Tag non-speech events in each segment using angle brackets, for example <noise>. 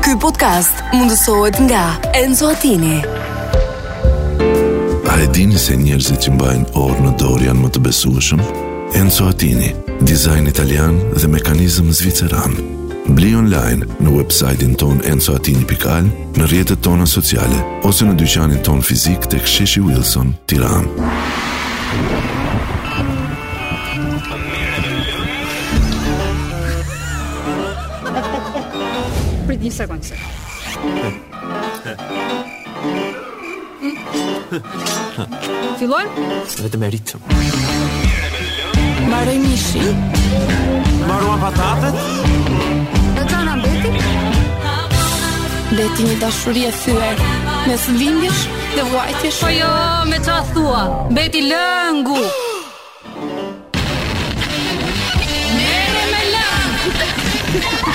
Ky podcast mundësohet nga Enzo Attini. A e dini se njerëzit që mbajnë orë në dorë janë më të besueshëm? Enzo Attini, dizajn italian dhe mekanizëm zviceran. Bli online në website-in ton enzoatini.al, në rjetët tona sociale, ose në dyqanin ton fizik të ksheshi Wilson, tiran. Prit një sekundë se. Fillojmë? Vetëm e ritëm. Mbaroj mishi. Mbaruan patatet? Në të në mbeti? Beti një dashuri e thyer mes lindjesh dhe vuajtjesh. Po jo, me qa thua. Beti lëngu. Mere me lëngu.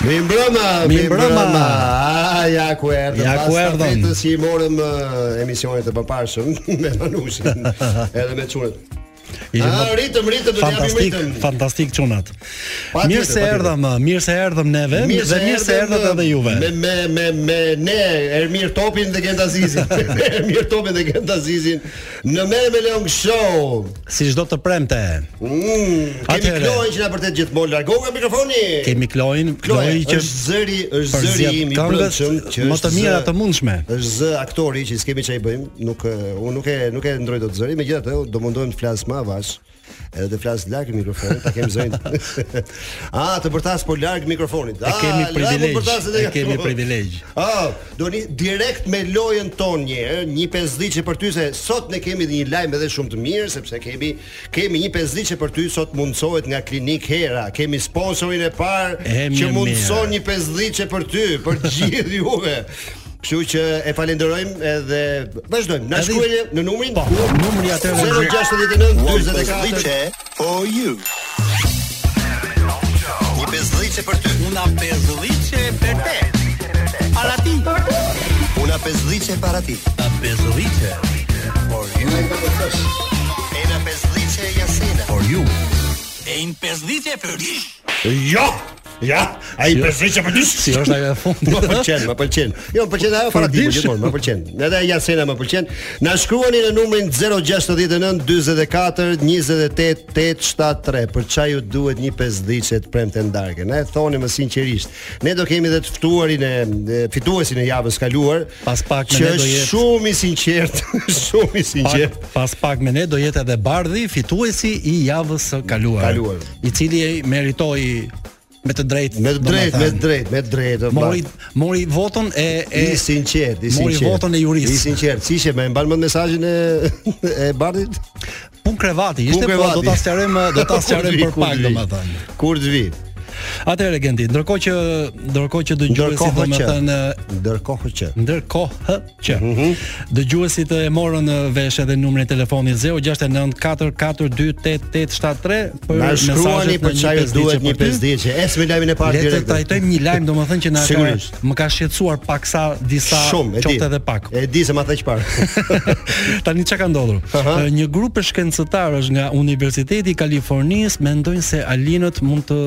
Mi mbrëma, mi mbrëma. mbrëma. A, ja ku erdhëm. Ja ku pas erdhëm. tapetës që i morëm eh, emisionet e paparshëm <laughs> me <laughs> Manushin, edhe me çunët. Ishim Ah, fant- ritëm, ritëm, do t'japim fantastik, ritëm. fantastik çunat. Pa tjetër, Mirë se pa tjetër. erdhëm, mirë se erdhëm neve dhe mirë se erdhët edhe juve. Me me me me ne Ermir Topin dhe Gent Azizin. <laughs> Ermir Topin dhe Gent Azizin në Merë me Leon Show. Si çdo të premte. Mm, kemi Atëhere. Kloe që na vërtet gjithmonë largon nga mikrofoni. Kemi Kloin, Kloe, Kloi që është zëri, është përzjat zëri im i këngës brendshëm që më të është mira zë- të mundshme. është z aktori që s'kemi çaj bëjmë, nuk eh, unë nuk e nuk e ndroj dot zërin, megjithatë unë do mundohem të flas më avash. Edhe të flas larg mikrofonit, ta kem <laughs> zërin. ah, të përtas po larg mikrofonit. E Ah, kemi larg privilegj, po përtaset e kemi privilegj. <laughs> Ah, do ni direkt me lojën tonë një herë, një pesdhiçe për ty se sot ne kemi një lajm edhe shumë të mirë sepse kemi kemi një pesdhiçe për ty sot mundsohet nga Klinik Hera. Kemi sponsorin e parë E, që mirë, mundson mirë. një pesdhiçe për ty, për gjithë juve. Kështu që e falenderojmë edhe vazhdojmë. Na Edhe- shkruajeni në numrin Po, numri atëherë 069 44 Pesdhice for you. Një pesdhice për ty. Una pesdhice për te. Para ti. Una pesdhice para ti. Una pesdhice for you. E una pesdhice jasena. For you. E një pesdhice për ti. Jo. Ja, ai pesdhiçe për ty. si është ajo e <laughs> Më fundit. pëlqen, më pëlqen. Jo, më pëlqen ajo para diku Përdish. gjithmonë, më pëlqen. Edhe Jasena më pëlqen. Na shkruani në numrin 069 44 28 873 për çaj ju duhet një pesdhiçe të premte ndarke. Na e thoni më sinqerisht. Ne do kemi edhe të ftuarin e e fituesin e javës kaluar. Pas pak me që ne do është jetë. shumë i sinqert, <laughs> shumë i Pak, sinqert. pas pak me ne do jetë edhe Bardhi, fituesi i javës së kaluar, Kaluar. i cili e meritoi me të drejtë. Me drejt, me domethënë. drejt, me drejt. o vlla. Mori mori votën e e I sinqert, i mori sinqert. votën e jurist. I sinqert. Si ishe, më mban mend mesazhin e <laughs> e Bardit? Pun krevati, Pun ishte po do krevati. ta sqarojmë, <laughs> do ta sqarojmë për pak domethënë. Kur të vi? Atëherë Genti, ndërkohë që ndërkohë që dëgjuesit Ndërkohë që. domethënë Ndërkohë që ndërkohë që Mhm. dëgjuesit e morën vesh edhe numrin e telefonit 069 4428873 për Na shkruani mesazhet për në çaj 152 duhet një për ty. 50 që es me lajmin e parë Le të direkt. trajtojmë një lajm domethënë që na ka Sigurisht. më ka shqetësuar paksa disa Shumë, e di. qoftë edhe pak. E di se ma the çfarë. <laughs> Tani çka ka ndodhur? Aha. Ë, Një grup shkencëtarësh nga Universiteti i Kalifornisë mendojnë se alinët mund të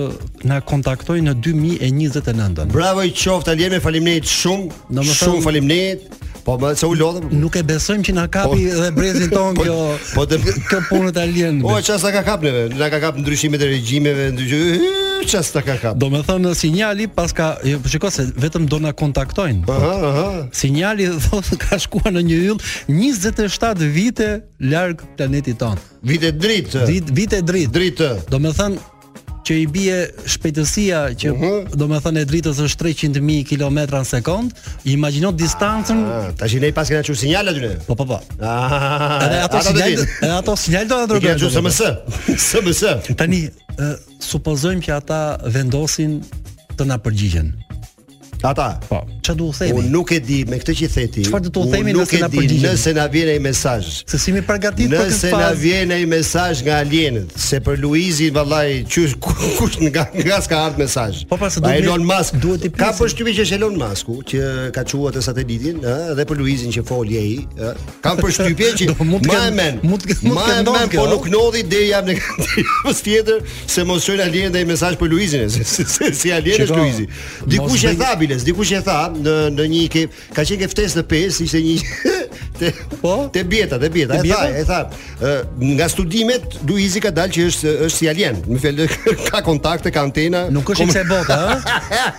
na kontaktojnë në 2029-ën. Bravo i qoftë Aljemi, faleminderit shumë. Do më Shumë thënë- faleminderit. Po më se u lodhëm. Nuk e besojmë që na kapi Po. dhe brezin ton <laughs> Po- kjo po të- Po, kjo punë të O, alienëve. çfarë sa ka kap neve? Na ka kap ndryshimet e regjimeve, ndryshime, çfarë sa ka kap. Do me thënë sinjali pas ka jo, po Shiko se vetëm do na kontaktojnë Aha, aha. <laughs> Sinjali thotë ka shkuar në një yll 27 vite larg planetit ton Vite dritë. Dit, Vite dritë Dritë. Do me thënë që i bie shpejtësia që Mhm. do me thënë e dritës është 300.000 kilometra në sekund, imagjino distancën Ah, Tash ne pas kena çu sinjal aty ne. Po po po. Ah, Edhe ato do sinjal, vinë. edhe ato sinjal do I ato kena çu SMS. SMS. Tani ë, supozojmë që ata vendosin të na përgjigjen. Ata. Po, çfarë do u themi? Unë nuk e di me këtë që i the ti. Çfarë do t'u unë themi nuk nëse e na di, përgjigjen? Nëse na vjen ai mesazh. Se si mi përgatit për këtë Nëse na fazë. vjen ai mesazh nga alienët, se për Luizin vallai qysh ku- kush nga nga s'ka ardhur mesazh. Po, pra, se Pa, duhet Elon me- Musk duhet i Ka pyesim. përshtypjen që është Elon Musku që ka çuar të satelitin, ëh, dhe për Luizin që foli ai, ëh. Kam përshtypjen që <laughs> Do, mund të ma kem- e men. mund të- mund të ma e kem ndonë men, kjo, po ëh. nuk knodhi deri jam në kantinës <laughs> tjetër se mos shojnë alienët ai mesazh për Luizin, se se- se- si alienët është Shiko, Luizi. Dikush mos e bëj- tha Biles, dikush e tha në në një ke, ka qenë ke ftesë në pesë, ishte një <laughs> te Po? te bieta, te bieta. Te E tha, bieta? e tha, ë, nga studimet Luizi ka dalë që është është si alien. Më fjalë <laughs> ka kontakte, ka antena. Nuk është komu- ikse bota, <laughs> ëh?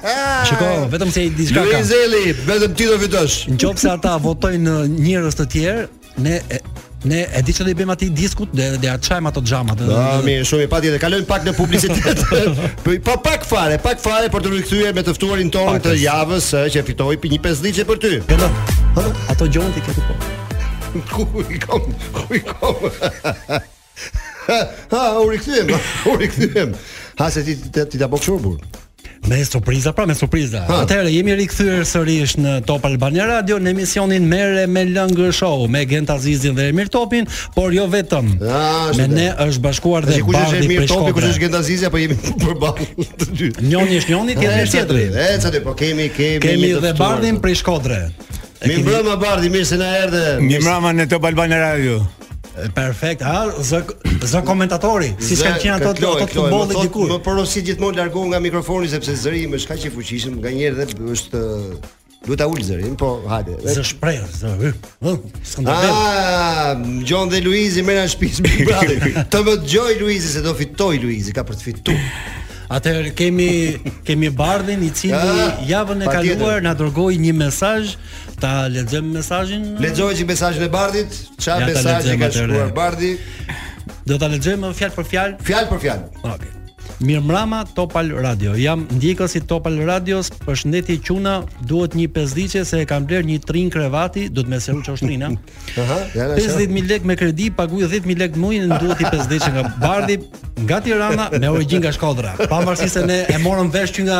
Shiko, vetëm se i diçka ka. Luizeli, vetëm ti do fitosh. Nëse ata votojnë në njerëz të tjerë, ne e- ne e di që do i bëjmë atij diskut, dhe dhe ja çajm ato xhamat. dhe- Ah, dhe- mirë, shumë i patjetër. Kalojmë pak në publicitet. <laughs> Po po pak fare, pak fare për të rikthyer me të ftuarin tonë të Pakës. javës ë, që fitoi një pesdhiçe për ty. <laughs> Gëndo. Hë, Ato gjonti këtu po. Ku i kom? Ku i kom? <laughs> Ha, u rikthyem, <laughs> u rikthyem. Ha se ti ti- ti ta bëk shurbur. Me surpriza, pra me surpriza. Ha. Atëherë jemi rikthyer sërish në Top Albania Radio në emisionin Merre me Lëngë Show me Gent Azizin dhe Emir Topin, por jo vetëm. Ah, me është ne është bashkuar Dhe dhe kush është Bardhi Emir prej Topi, kush është Shkodrës. Gendazizi apo jemi <laughs> përballë të dy? Njoni është njoni, tjetri është tjetri. E ça ti, po kemi kemi një Kemi të dhe ftuar. Bardhin prej Shkodre. E Mi keni- mbrëma Bardhi, mirë se na erdhe. Mi mrama në Top Albana Radio. Perfekt, ha, zë, zë komentatori, si Zë- s'kan qenë ato Kloj, ato Kloj, të futbollit më thot- dikur. Më po- porosi gjithmonë largohu nga mikrofoni sepse zëri im është kaq i fuqishëm, nganjëherë dhe është eh, duhet ta ul zërin, po hajde. Zë shprehë, zë. hy, hy, S'kam të bëj. Ah, Gjon dhe Luizi merren shtëpisë Big Brother. <laughs> Të më dëgjoj Luizi se do fitoj Luizi, ka për të fituar. Atëherë kemi kemi Bardhin i cili Ah, javën e patjetër. kaluar na dërgoi një mesazh, ta lexojmë mesazhin. Lexoj që mesazhin e Bardhit, Ja çfarë ta mesazhi lexojmë ka atëherë. shkruar Bardhi, Do ta lexojmë fjalë për fjalë. fjalë për fjalë. Okej. Mirëmbrëma Topal Radio. Jam ndjekës i Topal Radios. Përshëndetje Quna, duhet një pesdiçe se e kam bler një trin krevati, do të më seru çoshtrin, ha. <laughs> Aha, janë ashtu. 50000 lekë me kredi, paguaj 10000 lekë muin, duhet i 50 nga Bardhi, nga Tirana me origjin nga Shkodra. Pavarësisht se ne e morëm vesh që nga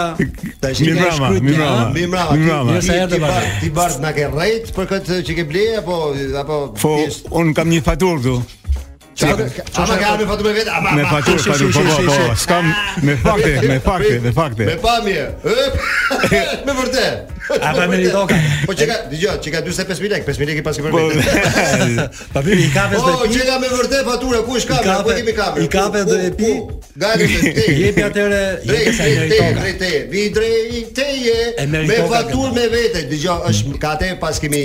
Tash Mi mrama, mi mrama. Mi mrama. Mi mrama. Mirë se erdhe, Bardhi. Ti Bardh na ke rrejt për këtë që ke ble apo apo Po, thjesht- un kam një faturë këtu. Çfarë? Çfarë ka ardhur fatur me vetë? Ama Me ama, faturë, Ah, shi, faturë, shi, po, po, shi, po, shi. s'kam me fakte, me fakte, me fakte. Me pamje. Ëp, me vërtet. A, pra, Me me vërtet. ridoka. Po çka, dëgjoj, çka 45000 lekë, 5000 lekë i pasi për Po, vetë. pa vini i kafe Po, s'do pi. çka me vërtet fatura, ku është I kamera? Ku kape- kemi kamerë? i kape Ku- dhe ku- e pi. ku? Gati të te. Jepi atëre, jepi Drejt, sa drejt, te, meritoka. drejt, te, vi drejt, teje, E me meritoka fatur këta. me vete, dëgjoj, është ka te pas kemi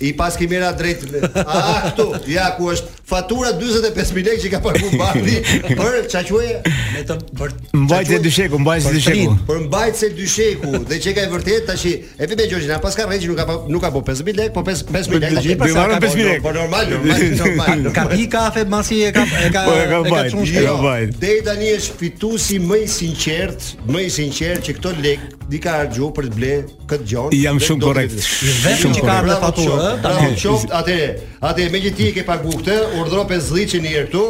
i pas kemi ra drejt a këtu ja ku është fatura 45000 lekë që ka <laughs> paguar Bardhi për çka quaj Me të për Mbajtje dysheku, mbajtje Për dysheku. trin. për mbajtse dysheku dhe që ka e vërtet tash i- e vi me Gjorgjina pas ka rregjë nuk ka pa- nuk ka po 5000 lekë po 5000 lekë Do i marrën 5.000 lekë. po normal normal <laughs> normal ka pi kafe masi e ka e ka Po, e ka bajt, çunë i shpe. ka bajt. Jo, deri tani është fituesi më i sinqert, më i sinqert që këto lek di ka harxhu për të bler këtë gjon. Jam dhe shumë do të korrekt, vitë. vetëm shumë që ka korrekt. ardhur Bravo, faturë, qoftë, eh, ë, Bravo, qoftë, atë, atë me që ti e ke pagu këtë, urdhro 50 një herë këtu,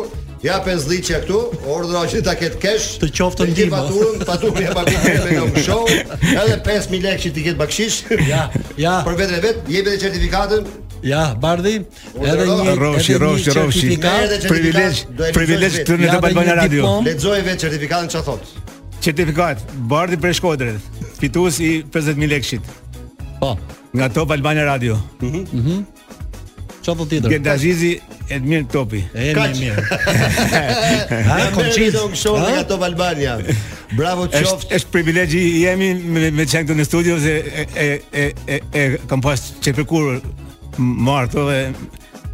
ja 50 që këtu, urdhro që ta ketë kesh. Të eh. qoftë të ndihmë. Faturën, faturën ja pagu me Lom Show, edhe 5000 lekë që ti ketë bakshish. Ja, ja. Për vetën e vet, jep edhe certifikatën. Ja, Bardhi, edhe një Rofshi, edhe një rofshi, rofshi. certifikat. Merë dhe certifikat, Privilegj, do e privilegj lexoj këtu në vetë. Top Albana Ja, dhe një Radio. diplom. Lexoj vetë certifikatën çfarë thotë. Certifikat, Bardi prej Shkodrës, fitues i 50000 lekëshit Po. nga Top Albana Radio. Çfarë do tjetër? Gendazizi Edmir Topi. E Kaq. mirë mirë. Ha, Ja kom merë qiz. Lom Show Ha? nga Top Albania. Bravo qoftë. Është është privilegj i jemi me me çan këtu në studio se e e e e, e kam pas çepekur martë dhe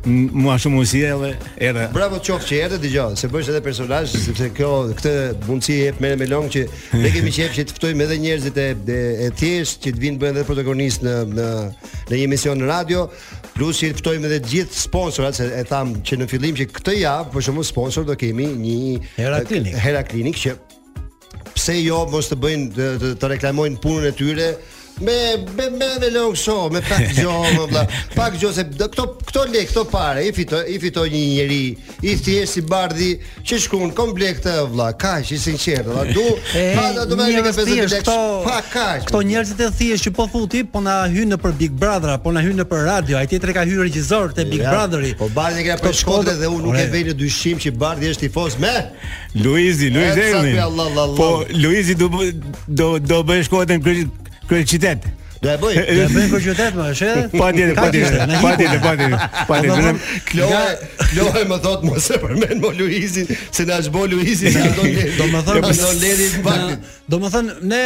m- mua shumë u sjellë era. Bravo qoftë që erdhe dëgjoj, se bësh edhe personazh sepse kjo këtë mundësi e jep merë me long që ne kemi qejf që të ftojmë edhe njerëzit e e, e thjesht që të vinë bëhen edhe protagonist në në në një emision në radio, plus që të ftojmë edhe të gjithë sponsorat se e tham që në fillim që këtë javë për shembull sponsor do kemi një Hera Clinic. Hera Clinic që pse jo mos të bëjnë të, të, të reklamojnë punën e tyre me me me me long show, me pak <laughs> gjo, valla. Pak gjo se do- këto këto lek, këto parë i fitoi i fitoi një njeri i thjesht i bardhi që shkon komplekt valla, kaq i sinqert, valla. <laughs> Du pa do të merr njerëz 50 thjesht, lekë. Pa kaq. Këto njerëzit e thjesht që po futi, po na hyn në për Big Brother, po na hyn në për radio, ai tjetri ka hyrë regjisor te Big Ja, Brotheri. Po bardhi kena për Këto Shkodrë shkodra- dhe unë nuk e Ore, vej në dyshim që bardhi është tifoz me. Luizi, Luizi E, Erni. sapi, Allah, Allah, Allah. Po Luizi do bë- do do bëj shkollën krye krye qytet. Do e bëj. <laughs> Ja bën kur qytet më, është? e? <laughs> Pa tjetër, pa Kaq tjetër, ishte, na pa hiqën. tjetër, pa tjetër, pa tjetër. Kloe, Kloe më thot mos e përmend mo Luizin, se na zhbo <laughs> Luizin sa do le. Do më thënë, do ledhi të baktit. Do më thënë, ne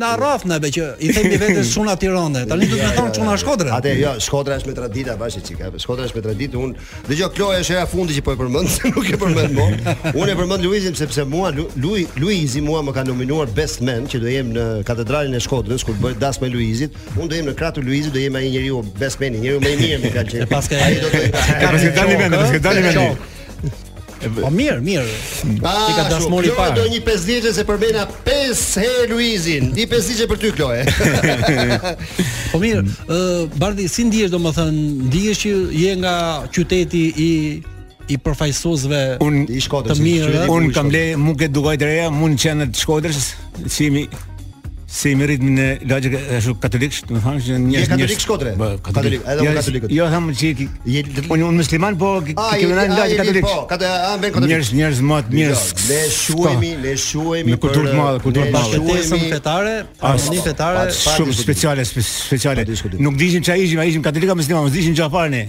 na rraf neve që i themi vetes çuna Tiranë. Tani do të më thonë çuna Shkodra. Atë jo, Shkodra është me tradita bashkë çika. Shkodra është me traditë. Unë dëgjoj Kloe është era fundi që po e përmend, <laughs> se nuk e përmend më. Unë e përmend Luizin sepse mua Lu- Lui Luizi mua më ka nominuar Best Man që do jem në katedralin e Shkodrës kur bëhet dasma e Luizit. Unë do jem në kratu Luizit, do jem ai njeriu Best Man, njeriu më i mirë më ka E qenë. paske- Ai do të E pas ke dalë mend, pas ke dalë mend. Shok. Po mirë, mirë. Ti ka Ah, dasmori shumë. parë. Kloe do një 50 se përmena 5 herë Luizin. Di 50 për ty <laughs> Kloe. Po mirë, ë Bardi, si ndihesh domethën, ndihesh që je nga qyteti i i përfaqësuesve Unë I Shkodrës, Të mirë, qyteti ëh? ku Un i kam Shkodrës. le mund ke dukoj të reja, mund qenë të Shkodrës, si mi si me ritmin e logjik ashtu katolik, do të thonë që një Je katolik Shkodre? Katolik, edhe unë katolik. Jo, tham që ki- Je- unë unë musliman, po ki- Ah, ki vënë ah, logjik jeni- katolik. Po, katë a vën katolik. Njerëz njerëz më të mirë. Jo, Ne po. shuhemi, ne shuhemi Me kulturë të madhe, kulturë ne të madhe. bashkëtesën shuhemi- fetare, Ah, harmoni fetare. pa- pa- Shumë diskutim. speciale, spe- speciale. diskutim. Nuk dishim çfarë ishim, a ishim katolika musliman, mos dishim çfarë fare ne.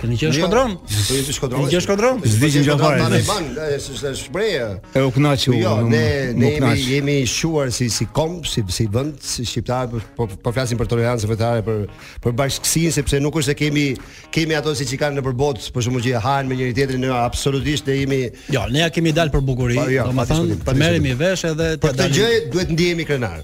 Keni qenë Jo, Shkodron? po jemi Shkodron. Nuk je Shkodron? Zdiqin gjafare. Ne ban, është shprehje. E u kënaqi. u- Jo, u- ne u ne jemi kënaqi. jemi shuar si si komb, si si vend, si shqiptar, po- po po flasim për tolerancën fetare, për për bashkësinë sepse nuk është se kemi kemi ato siç i kanë nëpër botë, për shembull që hahen me njëri tjetrin, ne absolutisht ne jemi Jo, ne ja kemi dalë për bukuri, Pa, jo, pa domethënë diskutim, pa të merremi diskutim. vesh edhe për të këtë dalim. gjë duhet ndihemi krenar.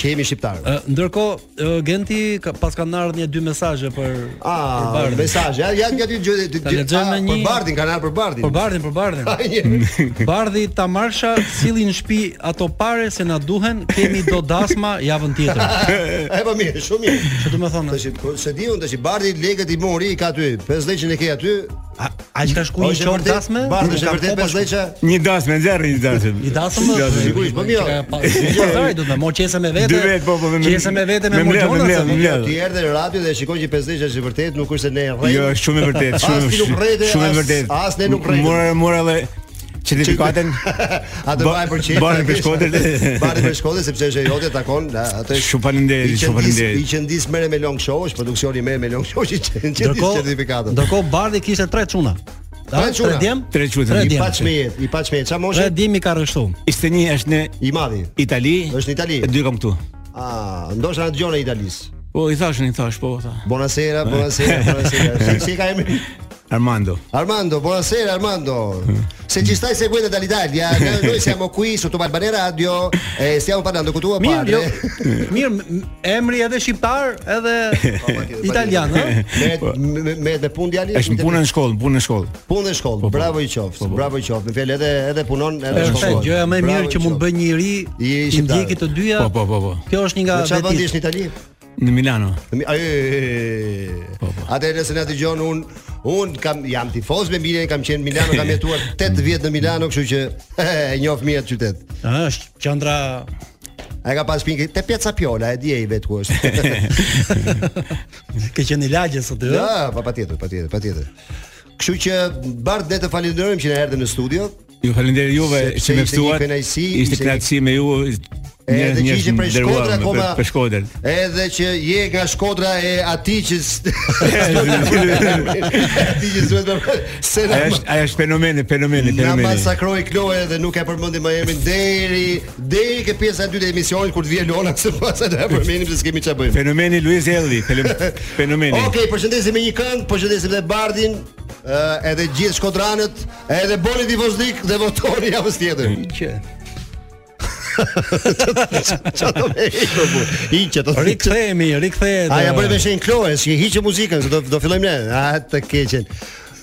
Që jemi shqiptar. Ë, Ndërkohë, ë, Genti ka, pas kanë ardhur një dy mesazhe për për Ah, Bardin. mesazhe. Ja, ja, ja ti gjë ti- Ta ti- lexojmë ah, me për një- Bardin, kanë ardhur për Bardin. Për Bardin, për <laughs> Bardin. Ai, një- Bardhi ta marsha sillin në shtëpi ato pare se na duhen, kemi do dasma javën tjetër. <laughs> E po mirë, shumë mirë. Që do të thonë? Tash po, se di unë tash i Bardi legët i mori i ka aty, 50 e ke aty. A ai ka Po, shku O, një është e çor vërtet? dasme? Bardi është e Ka vërtet kopa 50 Një dasmë nxjerrë një dasmë. I dasëm Sigurisht, po mirë. Pastaj do të më morë qese me vete. Dy vet, po, po, me- qese me vete me me mbledh, me morgjona. mbledh, me se- mbledh. Ti erdhe në radio dhe shikon që 50 është e vërtet, nuk është se ne rrej. Jo, është shumë e vërtet, As shumë ti nuk rrete, shumë e as- vërtet. as ne nuk rrete. Mora mora edhe certifikatën. Atë Ba- vaj për çfarë? Bardi për Shkodër. <laughs> Bardi për Shkodër sepse është e jote takon, a- atë është- Shumë faleminderit, i qëndis- shumë faleminderit. I qëndis merre me long show, është produksioni merre me long show, i qëndis Ndërkohë, certifikatën. ndërkohë Bardhi kishte tre çuna. Tre Ha, çuna. djem? Tre çuna, Tre i I djem. pa çmejet, i pa çmejet. Çfarë Tre moshe? djem i ka rrështu. Ishte një është në I madhi. Itali. Është në Itali. E dy kam këtu. Ah, ndoshta na dëgjon në Italisë. Po i thashën, i thash, po tha. Buonasera, buonasera, <laughs> buonasera. Si ka emrin? Armando. Armando, buonasera Armando. Se ci stai seguendo dall'Italia, eh, noi siamo qui su Tubalbane Radio e stiamo parlando con tuo Mirë, jo. padre. <laughs> Mirë, m- emri edhe shqiptar, <laughs> edhe italian, ëh. Me me me punë djali. Është në punë në shkollë, në punë në shkollë. punë në shkollë. Bravo i qoftë. Bravo i qoftë. Në fjalë edhe edhe punon edhe në Perfekt, shkollë. gjëja më e mirë Bravo që i mund qoftë. bëj një ri I i shqiptar. ndjekit të dyja. Po, po, po, po. Kjo është një nga Në çfarë vendi vetit. është në Itali? Në Milano. Në Mi- eh, Ai. Atë nëse na dëgjon un un kam jam tifoz me Milan, kam qenë në Milano, kam jetuar 8 vjet në Milano, kështu që <laughs> e njoh mirë atë qytet. Ëh, është qendra Ai ka pas pikë te Piazza Piola, e di ai vetë <laughs> <laughs> ku është. ke qenë i lagjes aty. ëh? Ja, Ah, pa patjetër, patjetër, patjetër. Kështu që Bart ne të falenderojmë që na erdhe në studio. Ju falenderoj juve Sepse që më ishte një ftuat. kënaqësi, Ishte ishte një- kënaqësi me ju. Edhe që njerëz ishe prej nderuar, Shkodra me- akoma. për- Për Shkodër. Edhe që je nga Shkodra e atij që <laughs> s- <laughs> atij që duhet të se na Aja është aja është fenomeni, fenomeni, Na fenomeni. masakroi Kloe dhe nuk e përmendim më emrin deri deri ke pjesa e dytë e emisionit kur të vjen Lona <laughs> se pastaj do e përmendim se s'kemi çfarë bëjmë. Fenomeni Luiz Elli, felem- <laughs> fenomeni. Okej, përshëndesim me një këngë, përshëndesim edhe Bardin, ë, edhe gjithë Shkodranët, edhe Boni Divoznik dhe <laughs> votoni javës tjetër. Që Çfarë do me hiq për burë? Hiqe do të hiqe. Rikthehemi, rikthehet. A ja ë, bëri me shenjë Kloe, që hiqe muzikën, se do do fillojmë ne. A të keqen.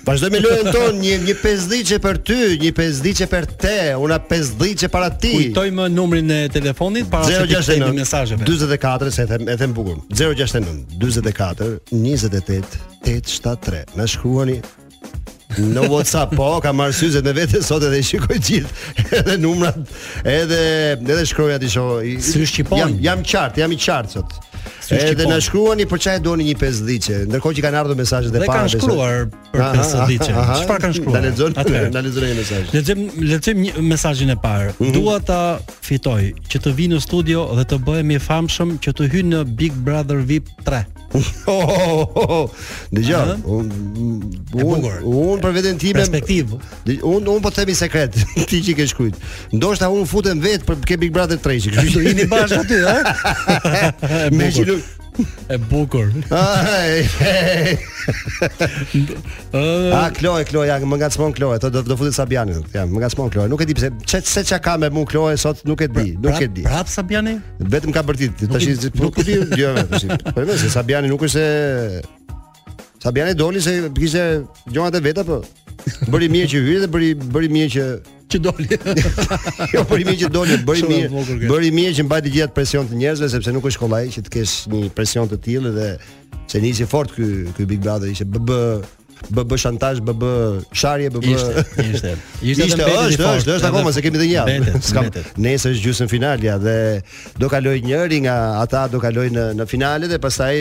Vazhdoj me lojën tonë, një një pesdhiçe për ty, një pesdhiçe për te, una pesdhiçe para ti. Kujtoj më numrin e telefonit para se të 069 kthehemi mesazheve. 44 se e them e them bukur. 069 44 28 873. Na shkruani në WhatsApp po kam arsyzet me vete sot edhe i shikoj gjithë edhe numrat edhe edhe shkruaja ti shoh i- Sy shqipon. jam jam qartë jam i qartë sot Sy shqipon. edhe na shkruani për çfarë doni një pesdhiçe ndërkohë që kanë ardhur mesazhet e Dhe para kanë besoj. shkruar për Aha, pesdhiçe. aha, aha. Çfarë kanë shkruar? Na lexon Atëherë. na lexon një mesazh Lexojm lexojm një mesazhin e parë. Dua ta fitoj që të vi në studio dhe të bëhem i famshëm që të hyj në Big Brother VIP 3. Oh, oh, oh, oh. <laughs> Dëgjoj, Aha. un un bukur. un për veten time Perspektiv. Dë- Un un po të themi sekret, <laughs> ti që ke shkruajt. Ndoshta un futem vet për ke Big Brother 3, që <laughs> kështu që Jini bashkë aty, ha? E Me që bukur. nuk- E bukur. Ai, hej. Ë, A Ah, Kloe, Kloe, ja, më ngacmon Kloe, do do futet Sabianin. Ja, më ngacmon Kloe. Nuk e di pse çe se çka ka me mua Kloe sot, nuk e di, nuk e prap- di. Prap Sabiani? Vetëm ka bërtit. Tash i- po po ti gjë vetë. si. Po e se Sabiani nuk është se Sabiani doli se kishte gjonat e veta po. Bëri mirë që hyri dhe bëri bëri mirë që <laughs> Që doli. jo bëri mirë që doli, bëri Shumë e bukur mirë. kjo. Bëri mirë që mbajti gjithë presion të njerëzve sepse nuk është kollaj që të kesh një presion të tillë dhe se nisi fort ky ky Big Brother ishte BB BB shantazh, BB sharje, BB Ishte, ishte. Ishte, edhe ishte, mbetet i është, fortë, është, është edhe- akoma se kemi të njëjtë. Mbetet, S'kam. mbetet. Nesër është gjysmë finalja dhe do kaloj njëri nga ata do kaloj në në finale dhe pastaj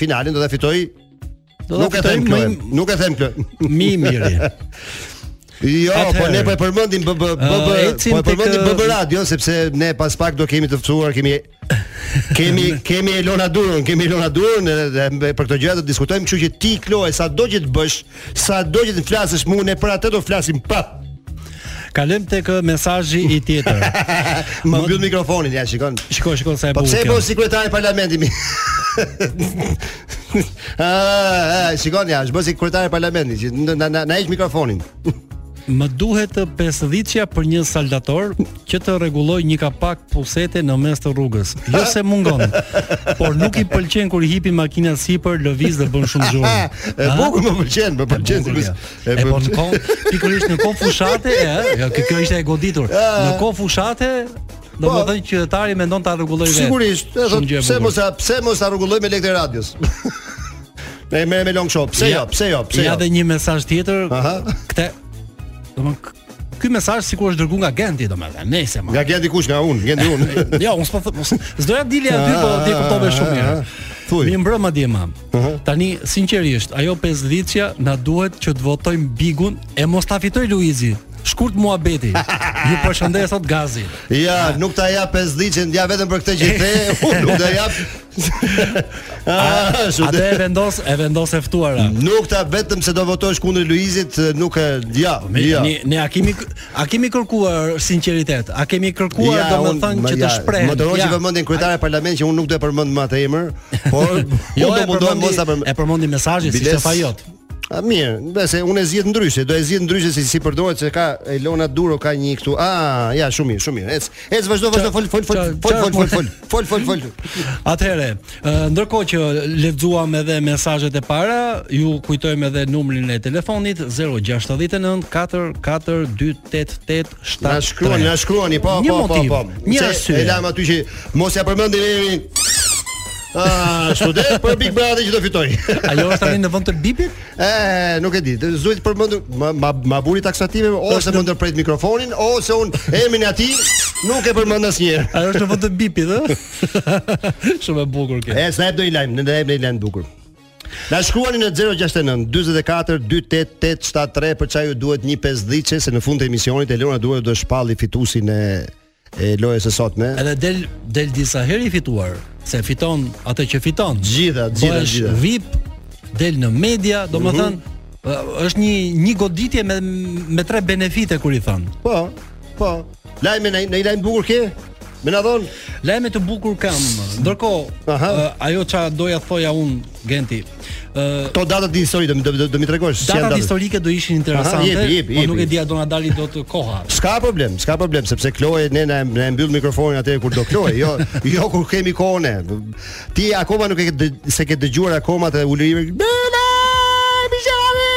finalen do ta fitoj Do ta Nuk e fitoj them më Kloe, i- nuk e them Kloe. Mi i miri. <laughs> Jo, po Atëherë. ne po e përmendim BB BB, Ë, po ecim e tek, përmendim ë, BB Radio sepse ne pas pak do kemi të ftuar, kemi kemi <laughs> kemi Elona Durën, kemi Elona Durën edhe dhe për këto gjëra do të diskutojmë, kështu që ti Kloe, sado që të bësh, sado që të flasësh mua, ne për atë do flasim pa. Kalojm tek ë, mesazhi i tjetër. <laughs> Ma mbyll mikrofonin, ja shikon. Shiko, shiko sa e Po bukur. pse kjo. po sekretari i parlamentit <laughs> mi? Ah, ah, shikoni, ja, është bërë sekretari i parlamentit që na- na na na heq mikrofonin. Më duhet të 50-qja për një saldator që të rregulloj një kapak pulsete në mes të rrugës. Jo se <laughs> mungon, por nuk i pëlqen kur i hipi makina sipër, lëviz dhe bën shumë zhurmë. Ah, <laughs> e Ha? bukur më pëlqen, më pëlqen. sikur- Bukur, ja. e E po pëlqen. në kohë, pikërisht në kohë fushate, e, jo, kjo, kjo ishte e <laughs> goditur. Në kohë fushate, do më Ah. Po. thënë qytetari mendon ta rregulloj vetë. Sigurisht, e thot, Shumë gjë e pse bukur. mos ta pse mos ta rregulloj me lekë e <laughs> radios. Ne merrem me long show. Pse jo, pse jo, pse jo. Ja dhe një mesazh tjetër. Aha. Kte, domthon ky mesazh sikur është dërguar nga Genti domethënë. Nëse më. Nga gjen dikush nga unë, gjen unë. <laughs> <laughs> Jo, unë s'po them, s'doja dili aty, po ti e kuptove shumë mirë. Ah, Thuj. Mi mbrëmë atje mam. Tani sinqerisht, ajo 50-çja na duhet që të votojmë Bigun e mos ta fitoj Luizi. Shkurt <laughs> muhabeti. Ju përshëndes sot Gazi. Ja, nuk ta jap 50 ja vetëm për këtë që the, <laughs> unë nuk ta jap. Ah, shumë. Atë e vendos, e vendos e ftuara. <laughs> Nuk ta vetëm se do votosh kundër Luizit, nuk e ja, Me, ja. ne, ne a kemi a kemi kërkuar sinqeritet, a kemi kërkuar domethënë që të shprehim. Më doroj që vëmendjen kryetare e parlamentit që unë nuk do e përmend më atë <laughs> emër, <laughs> por Jo, unë e do mundohem përmendi- mos ta përmend. E përmendi mesazhin si Biles- Stefa jot. A mirë, nëse unë e zgjidh ndryshe, do e zgjidh ndryshe se si përdoret se ka Elona Duro ka një këtu. Ah, ja, shumë mirë, shumë mirë. Ec, ec vazhdo, vazhdo, fol, fol, fol, Qa- fol, qa- fol, fol, <laughs> fol, fol, fol, fol. Atëherë, ë, ndërkohë që lexuam edhe mesazhet e para, ju kujtojmë edhe numrin e telefonit 069 442887. Na shkruani, na shkruani, po, Një po, po, motiv, po. një Se arsye. E lam aty që mos ja përmendim emrin. Ah, student për Big Brother që do fitoj. <laughs> Ajo është tani në vend të bipit? E, nuk e di. të Zujt përmendur ma, ma, ma buri taksative ose më ndërpret mikrofonin ose un emrin e atij nuk e përmend asnjëherë. Ajo është në vend të bipit, ë? <laughs> Shumë e bukur kjo. E, sa e do i lajm, ne do i lajm lajm bukur. Na shkruani në 069 44 28 873 për çaj ju duhet një pesdhiçe se në fund të emisionit Elona duhet do shpalli fituesin e e lojës së sotme. Edhe del del disa herë i fituar, se fiton atë që fiton. Gjitha, gjitha, Bëhesh gjitha. Mhm. VIP del në media, domethënë ë, është një një goditje me me tre benefite kur i thon. Po, po. Lajmi në në lajm bukur ke? Më na dhon. Lajme të bukur kam. Ndërkohë, Aha. ë, ajo çfarë doja thoja un Genti. ë To datat historike do do, do mi tregosh si janë datat datat. historike do ishin interesante, jepi, jepi, po nuk jepi. e dia do na dali dot <laughs> koha. S'ka problem, s'ka problem sepse Kloe ne na na e mbyll mikrofonin atë kur do Kloe, jo jo kur kemi kohën. ne. Ti akoma nuk e ke dë- se ke dëgjuar akoma të ulërimit. Bëna! Bishami!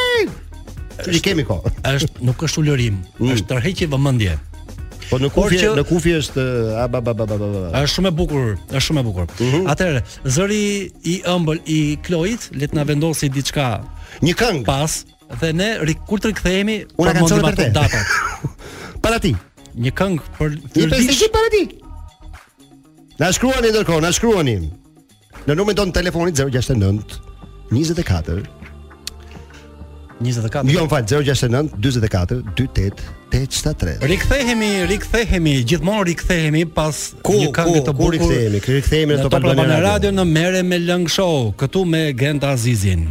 Kështu që kemi kohë. Është nuk është ulërim, Mm. është tërheqje vëmendje. Po në Por kufi, që- në kufi është a ba ba ba ba ba. ba. Është shumë e bukur, është shumë e bukur. Mhm. Atëherë, zëri i ëmbël i Kloit, le të na vendosi diçka Një këngë pas dhe ne ri- kur të rikthehemi Unë e kam përmendim çorë për ato te. datat. para ti. Një këngë për <laughs> Një Fyrdish. pesë para ti. Na shkruani ndërkohë, na shkruani. Në numrin tonë të telefonit 069 24 24. Jo, më fal, 069 44 28 873. Rikthehemi, rikthehemi, gjithmonë rikthehemi pas Ku, një këngë ku, të ku bukur. rikthehemi? Rikthehemi në Top Albana Radio. Radio në Merre me Lëng Show, këtu me Gent Azizin.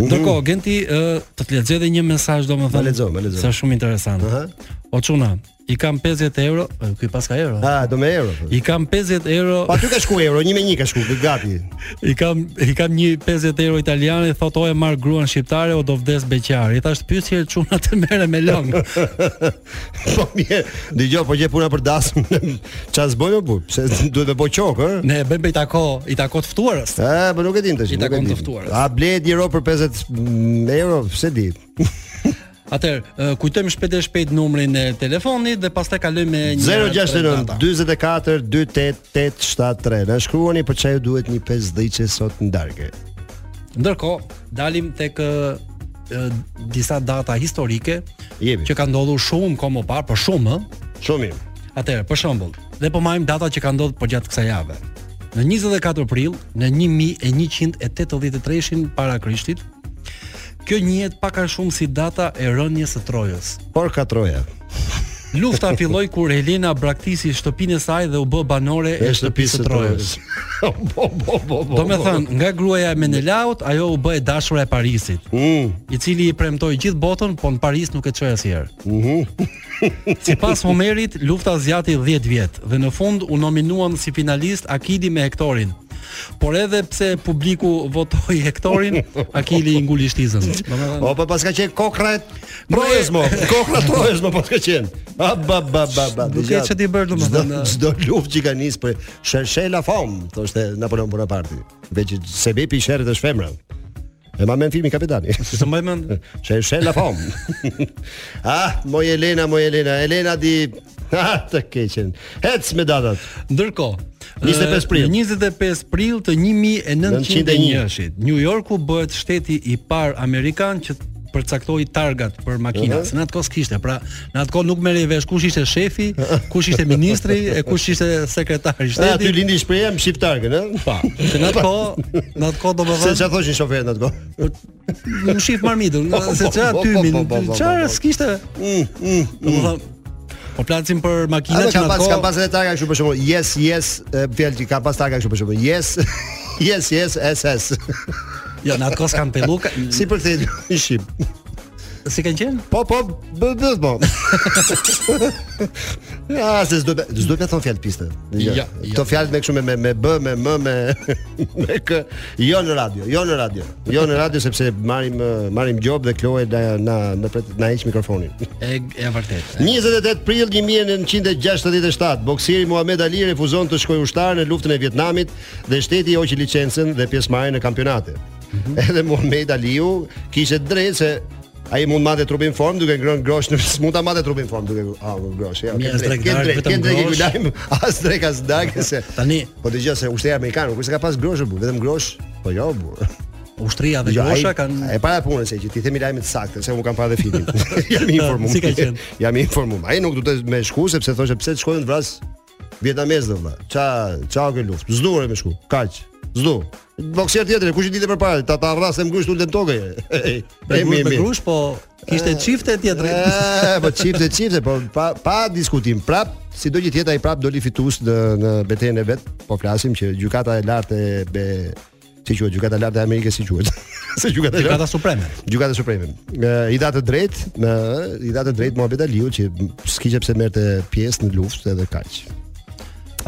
Ndërkohë, Genti, ë, të të lexoj edhe një mesazh domethënë. Mhm. Ma lexo, ma lexo. Se është shumë interesant. Aha. O çuna, i kam 50 euro, e, ky pas ka euro. Ah, do me euro. po. I kam 50 euro, Po aty ka shku euro, një me një ka shku, gati. <laughs> i kam i kam një 50 euro italiane, thot o e marr gruan shqiptare o do vdes beqar. I thash pyetje çuna të merre me lëng. <laughs> Po mirë, dëgjoj, po gjej puna për <laughs> dasëm. Çfarë s'bojmë bu? Se duhet të bëj qok, ë? Ne e bëjmë i tako, i tako të ftuarës. Ah, po nuk e din tash. I nuk e takon di. të ftuarës. A blehet një ro për 50 euro, pse di? Atëherë, ë, kujtojmë shpejt e shpejt numrin e telefonit dhe pastaj kalojmë me një 069 data. 44 28 873. Na shkruani për çfarë ju duhet një 5 dhëçe sot në darkë. Ndërkohë, dalim tek ë, ë, disa data historike Jepi. që ka ndodhur shumë kohë më parë, por shumë ë. Shumë mirë. Atëherë, për shembull, dhe po marrim data që ka ndodhur përgjatë kësaj jave. Në 24 prill në 1183 para Krishtit, kjo njihet pak a shumë si data e rënjes së Trojës. Por katroja. <laughs> Lufta filloi kur Helena braktisi shtëpinë e saj dhe u bë banore e shtëpisë së Trojës. po, po, po, po. Do me thënë, nga gruaja e Menelaut, ajo u bë e dashura e Parisit, Mm, i cili i premtoi gjithë botën, po në Paris nuk e çoi asnjëherë. Mhm. Sipas Homerit, lufta zgjati 10 vjet dhe në fund u nominuan si finalist Akili me Hektorin. Por edhe pse publiku votoi Hektorin, Akili i nguli shtizën. Domethënë, O, po pas ka qenë kokra e trojës mo, kokra e trojës mo, pas ka qenë. A, ba, ba, ba, ba. Nuk dëgjat. e që ti bërë, domethënë. Çdo- Çdo luftë që ka nisë për shërshe la fam, thoshte Napoleon Bonaparte. Veç se bepi i sherrit është femra. E ma men filmi kapitani. <laughs> të mbaj mend. Shërshe la fam. <laughs> ah, moj Elena, moj Elena, Elena di... <laughs> Ah, të keqen. Hec me datat. Ndërkohë, 25 prill. në 25 prill të 1901-shit, New Yorku bëhet shteti i parë amerikan që përcaktoi targat për makina. Se në atë kohë s'kishte, pra në atë kohë nuk merrej vesh kush ishte shefi, kush ishte ministri e kush ishte sekretari i Ah, aty shtetit. lindi shprehem shqiptarkën, ë? Pa, se në atë kohë, në atë kohë Se domethënë çfarë thoshin shoferët atë kohë? nuk shif marmitën, se çfarë po, po, tymin, po, po, po, po, çfarë po. mm, s'kishte. Domethënë po flasim për Ata makinat që kanë në pas atë kanë kohë pas edhe taka kështu për shembull. Yes, yes, e, fjalë që kanë pas taka kështu për shembull. Yes. <laughs> Yes, yes, SS. Jo, në atë kohë s'kan pelluka. si për këtë në shqip. Si kanë qenë? Po, po, bë, bë, <laughs> po. Ja, se s'do s'do të thon fjalë piste. Jo. Ja, ja. Këto fjalë me kështu me me me b, me m, me <laughs> me k, jo në radio, jo në radio. Jo në radio sepse marrim eh, marrim gjob dhe Kloe na na na pret na heq mikrofonin. E, e vërtet. 28 prill 1967, bokseri Muhammad Ali refuzon të shkojë ushtar në luftën e Vietnamit dhe shteti i hoqi licencën dhe pjesëmarrjen në kampionate. Mhm. Edhe Muhammad Aliu kishte drejtë se ai mund madhe trupin në formë duke ngrënë grosh në <laughs> mund ta madhe trupin në formë duke ah grosh. Ja, Mirë, as drek ke dark, drejt, vetëm ke drejt, grosh. lajm <laughs> as drek as dagë se. Tani Po dëgjoj se ushtria amerikane kur s'ka pas grosh bu, vetëm grosh. Po jo bu. ushtria dhe Jo, ai- grosha kanë e para punës e që ti themi lajmet saktë, se unë kam parë dhe <laughs> filmin. <laughs> jam i informuar. Si ka qenë? <laughs> Jam i informuar. Ai nuk duhet me shku sepse thoshte pse të shkojnë të vras vietnamez dhe vlla. Ça ça o ke luftë. Zduore me shku. Kaq. Zdu. Boksier tjetër, kush i ditë përpara, ta ta vrasë më grusht ulën tokë. <laughs> E me grush, <laughs> me grush, po Eh, kishte çifte tjetër. <laughs> E, po çifte çifte, po pa pa diskutim. Prap, sido që tjetra i prap doli fitues në në betejën e vet. Po flasim që gjykata e lartë e be si quhet gjykata e lartë e Amerikës si quhet. <laughs> Se gjykata e Gjykata lartë. Supreme. Gjykata supreme. E, I dha të drejtë, në i dha të drejtë Muhamet Aliu që s'kiqe pse merrte pjesë në luftë edhe kaq.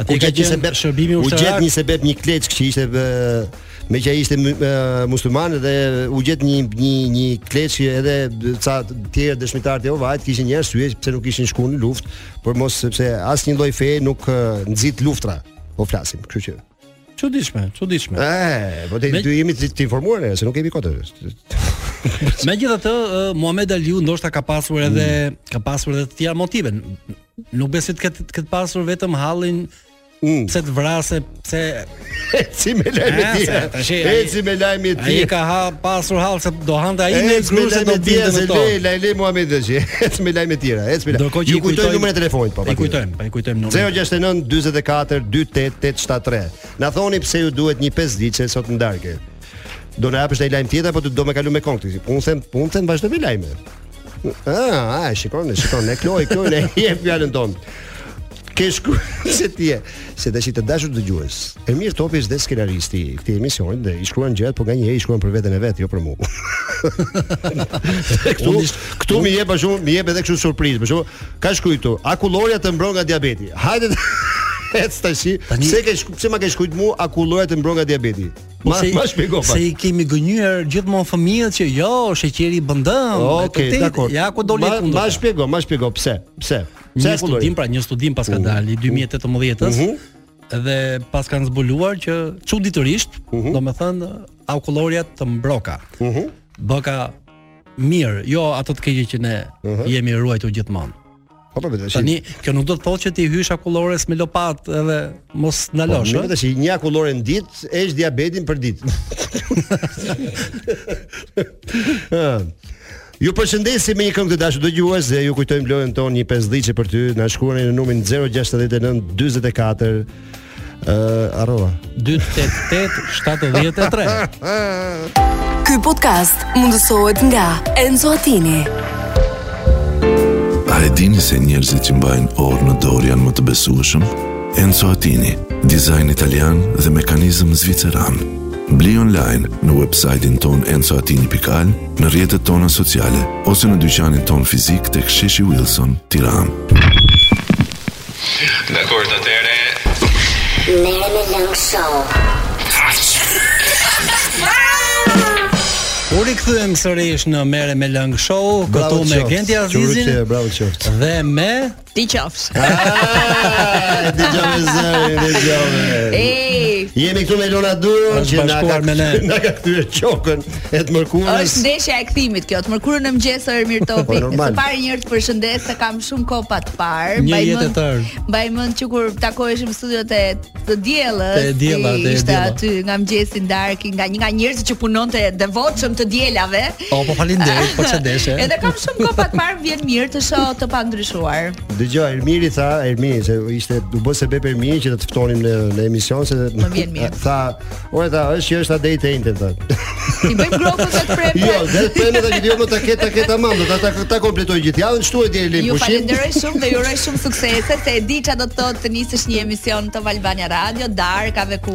Atje ka qenë shërbimi u gjet ushtarak. një sebeb një kleç që ishte e, me që ai ishte mu- e, musliman dhe u gjet një një një kleç që edhe ca të tjerë dëshmitarë të Jehovait kishin njerëz syje pse nuk kishin shkuar në luftë, por mos sepse asnjë lloj feje nuk e, nxit luftra. Po flasim, kështu që. Çuditshme, çuditshme. E, po te Me- dy jemi të, të informuar ne se nuk kemi kohë. të- Megjithatë, ë, Muhamed Aliu ndoshta ka pasur Mm. edhe ka pasur edhe të tjera motive. Nuk besoj të ketë ketë pasur vetëm hallin Mm. pse të vrase, pse Eci me lajmi Ah, tje. se, tash e- Eci me lajmi tje. ai ka ha pasur hall se do hante ai në Ec me grusë do lajme tjera, binte se me to. le, le, le Muhammed dhe <laughs> që, ec me lajme tjera, ec me lajme. Ndërkohë që Ju i kujtoj kujtojmë- numrin e telefonit, po. I patjetër. kujtojmë, pa i kujtojmë numrin. 069 44 28873. Na thoni pse ju duhet një 5 ditë sot në darkë. Do na japësh ai lajm tjetër apo do- do me kalu me këngë këtu? Unë them, unë them vazhdo me lajme. Ah, ah, shikon, shikon, ne Kloj, Kloj, ne <laughs> jep fjalën tonë. Ke shku <laughs> se ti je, se tash i të dashur dëgjues. Ermir Topi është dhe skenaristi i këtij emisioni dhe i shkruan gjërat, por nganjëherë i shkruan për veten e vet, jo për mua. <laughs> këtu, Unë ish- këtu mi jep ashtu, mi jep edhe kështu surprizë. Për shembull, ka shkruajtu, akulloria të mbron nga diabeti. Hajde të- <laughs> ec tash. Pse ke shku, pse ma ke shkruajt mua akulloria të mbron nga diabeti? Ma Po se- ma shpjego pak. Se i kemi gënyer gjithmonë fëmijët që jo, sheqeri i bën dëm. e Okej, vërtet, dakor. Ja ku doli Ma- kundër. Ma shpjego, ma shpjego pse? Pse? Pse Një akulloria? studim, pra një studim pas ka Mhm. dalë i 2018-s. Mhm. Dhe pas kanë zbuluar që çuditërisht, domethënë aukulloria të mbroka. Mhm. Bëka mirë, jo ato të keqe që ne jemi ruajtur gjithmonë. Po po, tash. Tani kjo nuk do të thotë që ti hysh akullores me lopat edhe mos Po, ndalosh, Nuk ëh. tash një akullore në ditë, esh diabetin për <laughs> ditë. Ëh. Ju përshëndesim me një këngë të dashur dëgjues dhe ju kujtojmë lojën tonë një pesdhiçe për ty. Na shkruani në numrin 069 44 ë harrova. <laughs> 288 73. Ky podcast mundësohet nga Enzo Attini. A e dini se njerëzit që mbajnë orë në dorë janë më të besueshëm? Enzo Attini, dizajn italian dhe mekanizëm zviceran. Bli online në website-in ton enzoatini.al, në rjetët tona sociale, ose në dyqanin ton fizik të ksheshi Wilson, tiran. Dakor, atëre. U rikthyem sërish në Merre me Lëng Show, këtu Bravo me qoftë. Genti Quri qe, Azizin bravo <laughs> qoftë. dhe me Ti qofsh. Ah, dëgjove zërin, dëgjove. Ej, Jemi këtu me Lona Duro Është që na ka bashkuar me ne. <laughs> na ka kthyer qokën e të mërkurës. është ndeshja e kthimit kjo. Të mërkurën në mëngjes Ermir Po, Topi. normal. Së pari një herë të përshëndes, se kam shumë kohë pa të parë. Një Mbaj jetë e mend- tërë. Mbaj mend që kur takoheshim në studiot e të diellës, Të diella, ti të ishte diella. aty nga mëngjesi darki, nga një nga njerëzit që punonte devotshëm të dielave. O, po falinderit, po që deshe Edhe kam shumë kohë pa të parë, vjen mirë të shoh të pandryshuar. Dëgjoj, Ermiri tha, Ermiri se ishte u bë se bep Ermiri që do të ftonim në në emision se Më vjen mirë. Tha, "Ore tha, është që është date ente <laughs> tha." Ti bëjmë grokun dhe të premë. Jo, dhe të premë tha që jo më ta ket ta ket tamam, do ta ta, ta kompletoj gjithë javën, shtu e deri Ju në pushim. falenderoj shumë <laughs> dhe ju uroj shumë suksese se e di çfarë do të thotë të nisësh një emision Top Albania Radio, darkave ku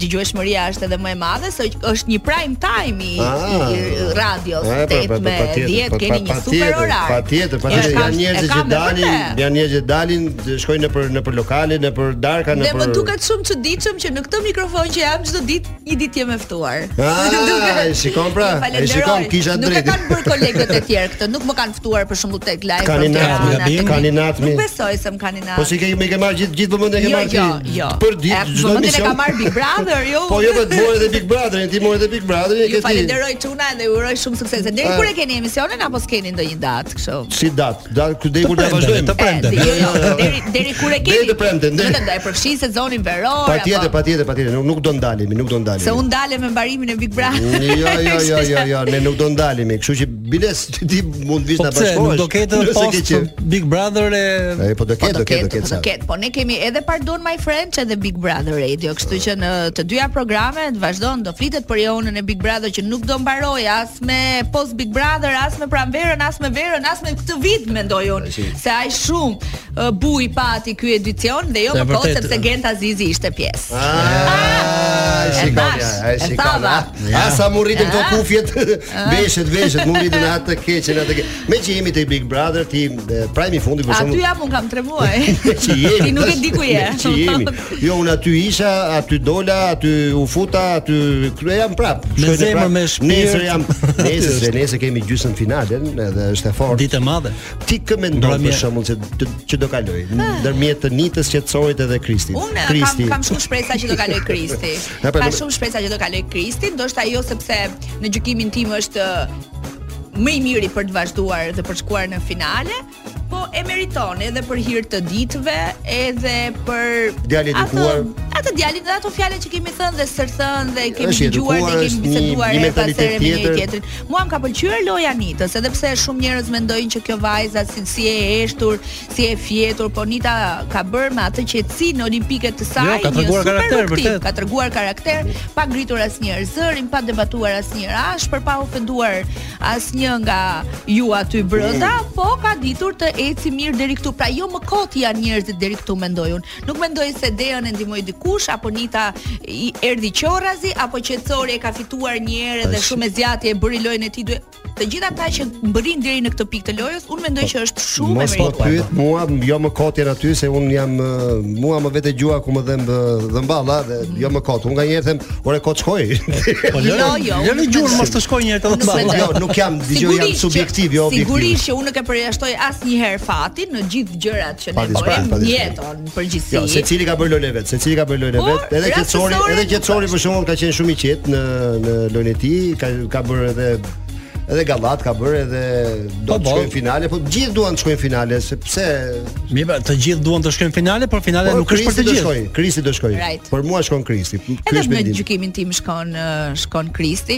dëgjueshmëria është edhe më e madhe, se është një prime time i, Ah. i radios, Ah, po, 8 po, me patjetër, 10 po, keni pa- një super patjetër, orar. Patjetër, E patjetër kam- janë njerëz e që kam me dalin, vërtet. janë njerëz që dalin, dhe shkojnë nëpër nëpër lokale, nëpër darka, Dhe nëpër më duket shumë çuditshëm që në këtë mikrofon që jam çdo ditë, një ditë jam e ftuar. Ah, Më <laughs> duket- e shikon pra, Ju falenderoj. e shikon, kisha Nuk e drejtë. kanë bërë kolegët e <laughs> tjerë këtë, nuk më kanë ftuar për shembull tek live. Kanë program, inat, Tirana, tek- kanë inat mi. Nuk besoj se më kanë inat. Po si ke më ke marr gjithë gjithë vëmendjen e ke Jo, marr ti. jo, jo. Për E, ditë çdo vëmendjen e emision. ka marr Big Brother, jo. <laughs> Po jo, po të morë edhe Big Brotherin, ti morë edhe Big Brotherin, e ke Ju ti. falenderoj Çuna dhe ju uroj shumë suksese. Deri Ah. kur e keni emisionin apo s'keni ndonjë datë kështu? Si datë? Datë ku deri kur ta premten, vazhdojmë? të premten. E, jo, jo, <laughs> deri deri kur e keni. Deri të premten, deri- Do të përfshin sezonin veror. Patjetër, apo- patjetër, patjetër, nuk nuk do ndalemi, nuk do ndalemi. Se unë dalem me mbarimin e Big Brother. Jo, jo, jo, jo, jo, ne nuk do ndalemi, kështu që biles <laughs> ti- ti mund vish Po na pse, bashkohesh. nuk do ketë nëse ke post qef. Big Brother e E, po do Po ketë, do ketë, do ketë. po do sa. ketë. Po ne kemi edhe Pardon My Friend që edhe Big Brother Radio, kështu që në të dyja programet vazhdon do flitet për jonën e Big Brother që nuk do mbaroj as me post Big Brother, as me pranverën, as me verën, as me këtë vit mendoj unë. Se ai shumë uh, buj pati ky edicion dhe jo Se më kohë vërtet, sepse ë. Gent Azizi ishte pjesë. Ah, E shikoj, thash, ja, e Ah, e Ah. shikoj. thava. ah. Ah, sa mu rritin këto kufjet, veshet, veshet, mu rritin keqen, atë të keqen, atë të keqen. Me që jemi te Big Brother, ti e, prajmi i fundit për Aty shembull. jam un kam tremuaj. Me <laughs> që jemi. Ti nuk e di ku je. Me që jemi. Jo, unë aty isha, aty dola, aty u futa, aty krye jam prap. Me Shkojnë zemër, prap. me shpirt. Nesër <laughs> jam, nesër, se nesër kemi gjysmën finalen, edhe është e fortë. Ditë e madhe. Ti kë mendon për Mbrëmje. shembull se të- që do kaloj ndërmjet të nitës qetësorit edhe Kristit. Unë eh, Kristi. kam kam shumë shpresa që do kaloj <laughs> Kristi. Ja, pra, Ka do- shumë shpresa që do kaloj Kristi, ndoshta jo sepse në gjykimin tim është ë, më i miri për të vazhduar dhe për shkuar në finale, po e meriton edhe për hir të ditëve, edhe për Djalit atë- edukuar. Atë djalit dhe ato fjalë që kemi thënë dhe sërthën dhe kemi Është i dëgjuar edukuar, dhe është kemi një- biseduar një e mentalitet pastaj me njëri tjetër. tjetrin. Mua më ka pëlqyer loja Nitës, edhe pse shumë njerëz mendojnë që kjo vajza si, si e heshtur, si e fjetur, po Nita ka bërë me atë qetësinë olimpike të saj, Jo, ka treguar super karakter, rukëtim, vërtet. Ka treguar karakter, pa ngritur asnjëherë zërin, pa debatuar asnjëherë ashpër, pa ofenduar asnjë nga ju aty brenda, Mm. po ka ditur të eci mirë deri këtu. Pra jo më kot janë njerëzit deri këtu mendoj unë. Nuk mendoj se Dean e ndihmoi dikush apo Nita i erdhi qorrazi apo qetësori e ka fituar një herë dhe Tash- shumë e zjatje e bëri lojën e tij dy. Të gjitha ata që mbërin deri në këtë pikë të lojës, unë mendoj që është shumë Mos e po merituar. pyet mua, jo më kot janë aty se un jam eh, mua më vetë gjua ku më dhëm eh, dhëmballa dhe jo më kot. Un nganjëherë them, "Ore kot shkoj." <laughs> Po Jo, lëre jo, lëre unë gjurmë mendoj. mos të shkojë një herë të Unë mendoj. dhëmballa. jo, nuk jam dëgjoj jam Sigurisht që- subjektiv, jo objektiv. Sigurisht që unë nuk e përjashtoj asnjëherë fatin në gjithë gjërat që ne Pati s'pran, bëjmë pati në s'pran. jetën në përgjithësi. Jo, secili ka bërë lojën e vet, secili ka bërë lojën e Por, vet. Edhe qetçori, rastësore edhe nuk qetçori për shkakun ka qenë shumë i qetë në në lojën e tij, ka ka bërë edhe edhe Gallat ka bërë edhe do Po, të po. shkojnë finale, po gjithë duan të shkojnë finale sepse Mi ba, të gjithë duan të shkojnë finale, por finale Por nuk është për Kristi të Po, do gjithë. shkojë, Kristi do shkojë. Right. Për mua shkon Kristi. Ky Edhe është në mendimi. gjykimin tim shkon ë, shkon Kristi.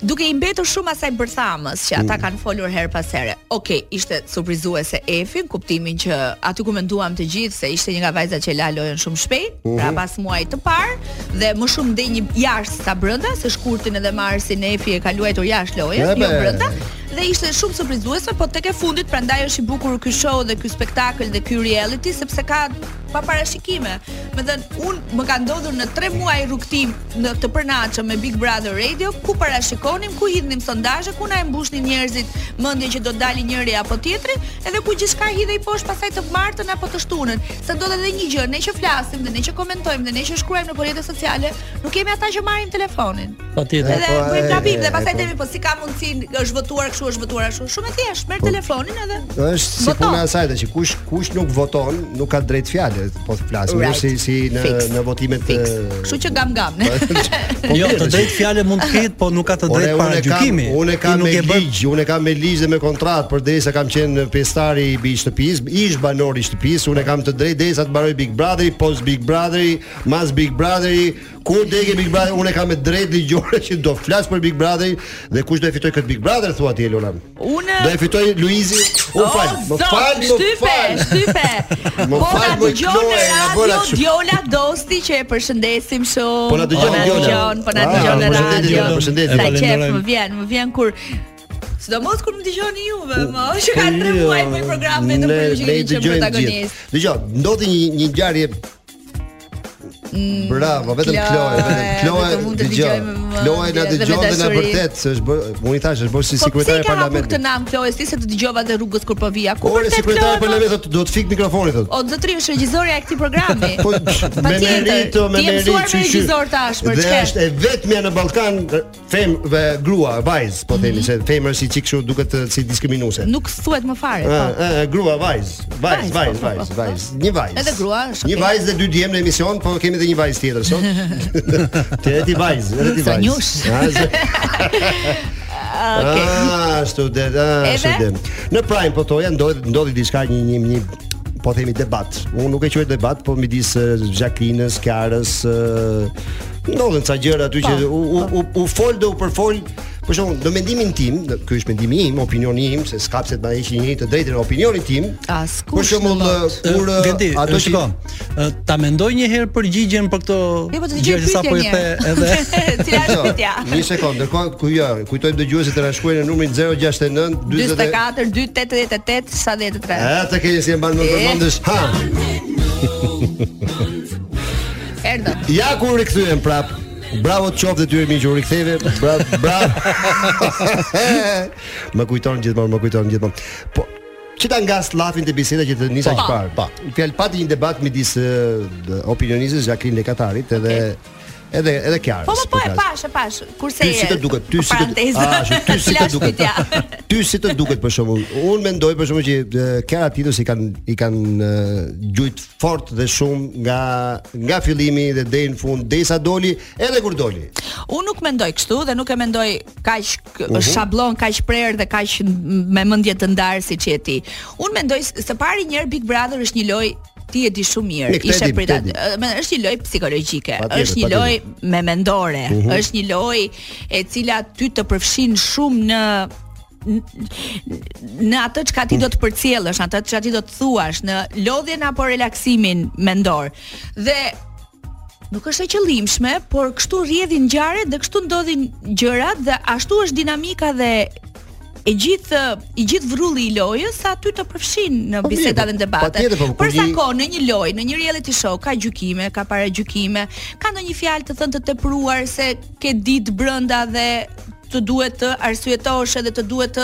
Duke i mbetur shumë asaj bërthamës që Mm. ata kanë folur her pas here. Okej, ishte surprizuese Efi, në kuptimin që aty ku menduam të gjithë se ishte një nga vajzat që la lojën shumë shpejt, Mhm. pra pas muajit të parë dhe më shumë ndej një jashtë sa brenda, se shkurtin edhe Marsin Efi e ka luajtur jashtë lojën, Ebe. jo brenda. Dhe ishte shumë surprizuese, po tek e fundit prandaj është i bukur ky show dhe ky spektakël dhe ky reality sepse ka pa parashikime. Me thënë, unë më ka ndodhur në 3 muaj rrugtim në të përnaqëm me Big Brother Radio, ku parashikonim, ku hidhnim sondazhe, ku na e mbushnin njerëzit mendje që do dali njëri apo tjetri, edhe ku gjithçka hidhej poshtë pasaj të martën apo të shtunën. Se do edhe një gjë, ne që flasim dhe ne që komentojmë dhe ne që shkruajmë në po rrjetet sociale, nuk kemi ata që marrin telefonin. Patjetër. Edhe po, po, e, bëjmë gabim e, dhe pastaj po. themi po si ka mundësi është votuar kështu, është votuar ashtu. Shumë e thjeshtë, merr telefonin edhe. Po. është si voton. puna e saj që kush kush nuk voton nuk ka drejt fjalë, po të flasim Right. right. si si në Fix. në votimet e- Fix. Kështu që gam gam. ne. <laughs> Po <laughs> Jo, mirë, të drejtë fjalë mund të ketë, po nuk ka të Ore, drejtë para unë kam, gjykimi. unë Ti kam me nuk e bën. ligj, unë kam me ligj dhe me kontratë përderisa kam qenë pjestari i bi- shtëpisë, ish banor i shtëpisë, unë kam të drejtë derisa të mbaroj Big Brotheri, post Big Brotheri, mas Big Brotheri, kur dege Big Brother, unë kam me drejtë ligjore që do flas për Big Brotherin dhe kush do e fitoj këtë Big Brother thua ti Elona. Unë- do e fitoj Luizi, u O, fal, më zot, fal, më shtype, fal. shtype. <laughs> Më Po fal, na më dëgjon Kloe, në na bëra radio kështu. Djola Dosti që e përshëndesim shumë. Po na dëgjon na Djola. dëgjon, Po na Ah, dëgjon në përshëndetje, radio. Djola, përshëndetje. Sa E qef falenderojmë. më vjen, më vjen kur Sidomos kur më dëgjoni juve, më Po, që ka tre Po, muaj me program vetëm Ne- për ju që ne Jo, keni i qenë dëgjojmë protagonist. gjithë. Dëgjoj, ndodhi një një ngjarje Bravo, vetëm Kloe, Kloe, vetëm Kloe. Mm, vetëm unë të Dëgjoj. dëgjoj me- me- Kloe na dhe me dëgjon dhe na dashuri. vërtet se është bërë, unë i thash, është bërë si Po pse sekretare e e ke hapur këtë parlamentit. nam Kloe, si se të dëgjova dhe rrugës kur po vija. Ku Ore vërtet, sekretare Kloe, e parlamentit thotë, do të fik mikrofonin thotë. po? O zotri është regjizorja e këtij programi. <laughs> Po me tjetër, merito, me ti je merito, mësuar me regjizor tash, për Dhe çka? është e vetmja në Ballkan fem dhe grua, vajz, po Mhm. themi se femër si çik kështu duket eh, si diskriminuese. Nuk thuhet më fare. Ë, po. ë, grua vajz, vajz, Vajz, vajz, po, po, vajz, po. vajz, një vajz. Edhe grua, është Një okay. vajz dhe dy djem në emision, po kemi edhe një vajz tjetër sot. <laughs> Te ti vajz, edhe ti vajz. Sonjush. Ah, se- Okej. Ah, student, ah, Edhe? student. Në Prime po toja ndodhi ndodhi diçka një një një po themi debat. Unë nuk e quaj debat, po midis eh, Jacqueline-s, Kiarës, eh, ndodhen ca gjëra aty Po, që u u, u, u fol dhe u përfol. Për shembull, në mendimin tim, në- ky është mendimi im, opinioni im, se s'ka pse të ma heqë njëri të drejtën në opinionin tim. Askush Për shembull, në botë. eh, kur eh, Genti, ato që shiko. eh, Ta mendoj një herë përgjigjen për këto Jo, po të dëgjoj gjë që pyetjen sapo i the <laughs> edhe Cila është <laughs> Jo, pyetja? Një sekond, ndërkohë ku ja, kujtojmë dëgjuesit të na shkruajnë në numrin 069 40 44 Eh? 288 73. A, të keni si e mbanë më E. përmëndësh Ha, Erdhëm. ja ku rikthyem prap Bravo të qoftë ty miq, u riktheve. Bravo, <laughs> bravo. më kujton gjithmonë, më kujton gjithmonë. Po që ta ngas llafin te biseda që të nisa Po. që parë. Pa. Fjalë pati një debat midis ë, opinionistës Jacqueline Lekatarit edhe edhe edhe Kiarës. Po po po e flas. pash, e pash. Kurse po Ty si të duket, ty si të Parantezë. Ah, që ty si të Flash duket. pyetja. <laughs> Ty si të duket për shembull. Unë mendoj për shembull që e, Kiara Titus i kanë i kanë e, gjujt fort dhe shumë nga nga fillimi dhe deri në fund, derisa doli, edhe kur doli. Unë nuk mendoj kështu dhe nuk e mendoj kaq k- Mhm. shabllon, kaq prerë dhe kaq m- me mendje të ndarë siç je ti. Unë mendoj s- së pari një herë Big Brother është një lojë ti e di shumë mirë. Ne, këtë e Ishe dim, prit këtë e atë. dim. Ë, me- Është një lojë psikologjike, Patjetër, është një patjetër. lojë me mendore, Mhm. është një lojë e cila ty të përfshin shumë në n- në atë çka ti do të përcjellësh, në atë çka ti do të thuash, në lodhjen apo relaksimin mendor. Dhe nuk është e qëllimshme, por kështu rrjedhin ngjarjet dhe kështu ndodhin gjërat dhe ashtu është dinamika dhe e gjithë i gjithë vrulli i lojës sa aty të përfshin në Po mirë, biseda po, dhe në debate. patjetër, po, kur Për sa një- kohë në një lojë, në një reality show ka gjykime, ka paragjykime, ka ndonjë fjalë të thënë të tepruar se ke ditë brenda dhe të duhet të arsyetosh edhe të duhet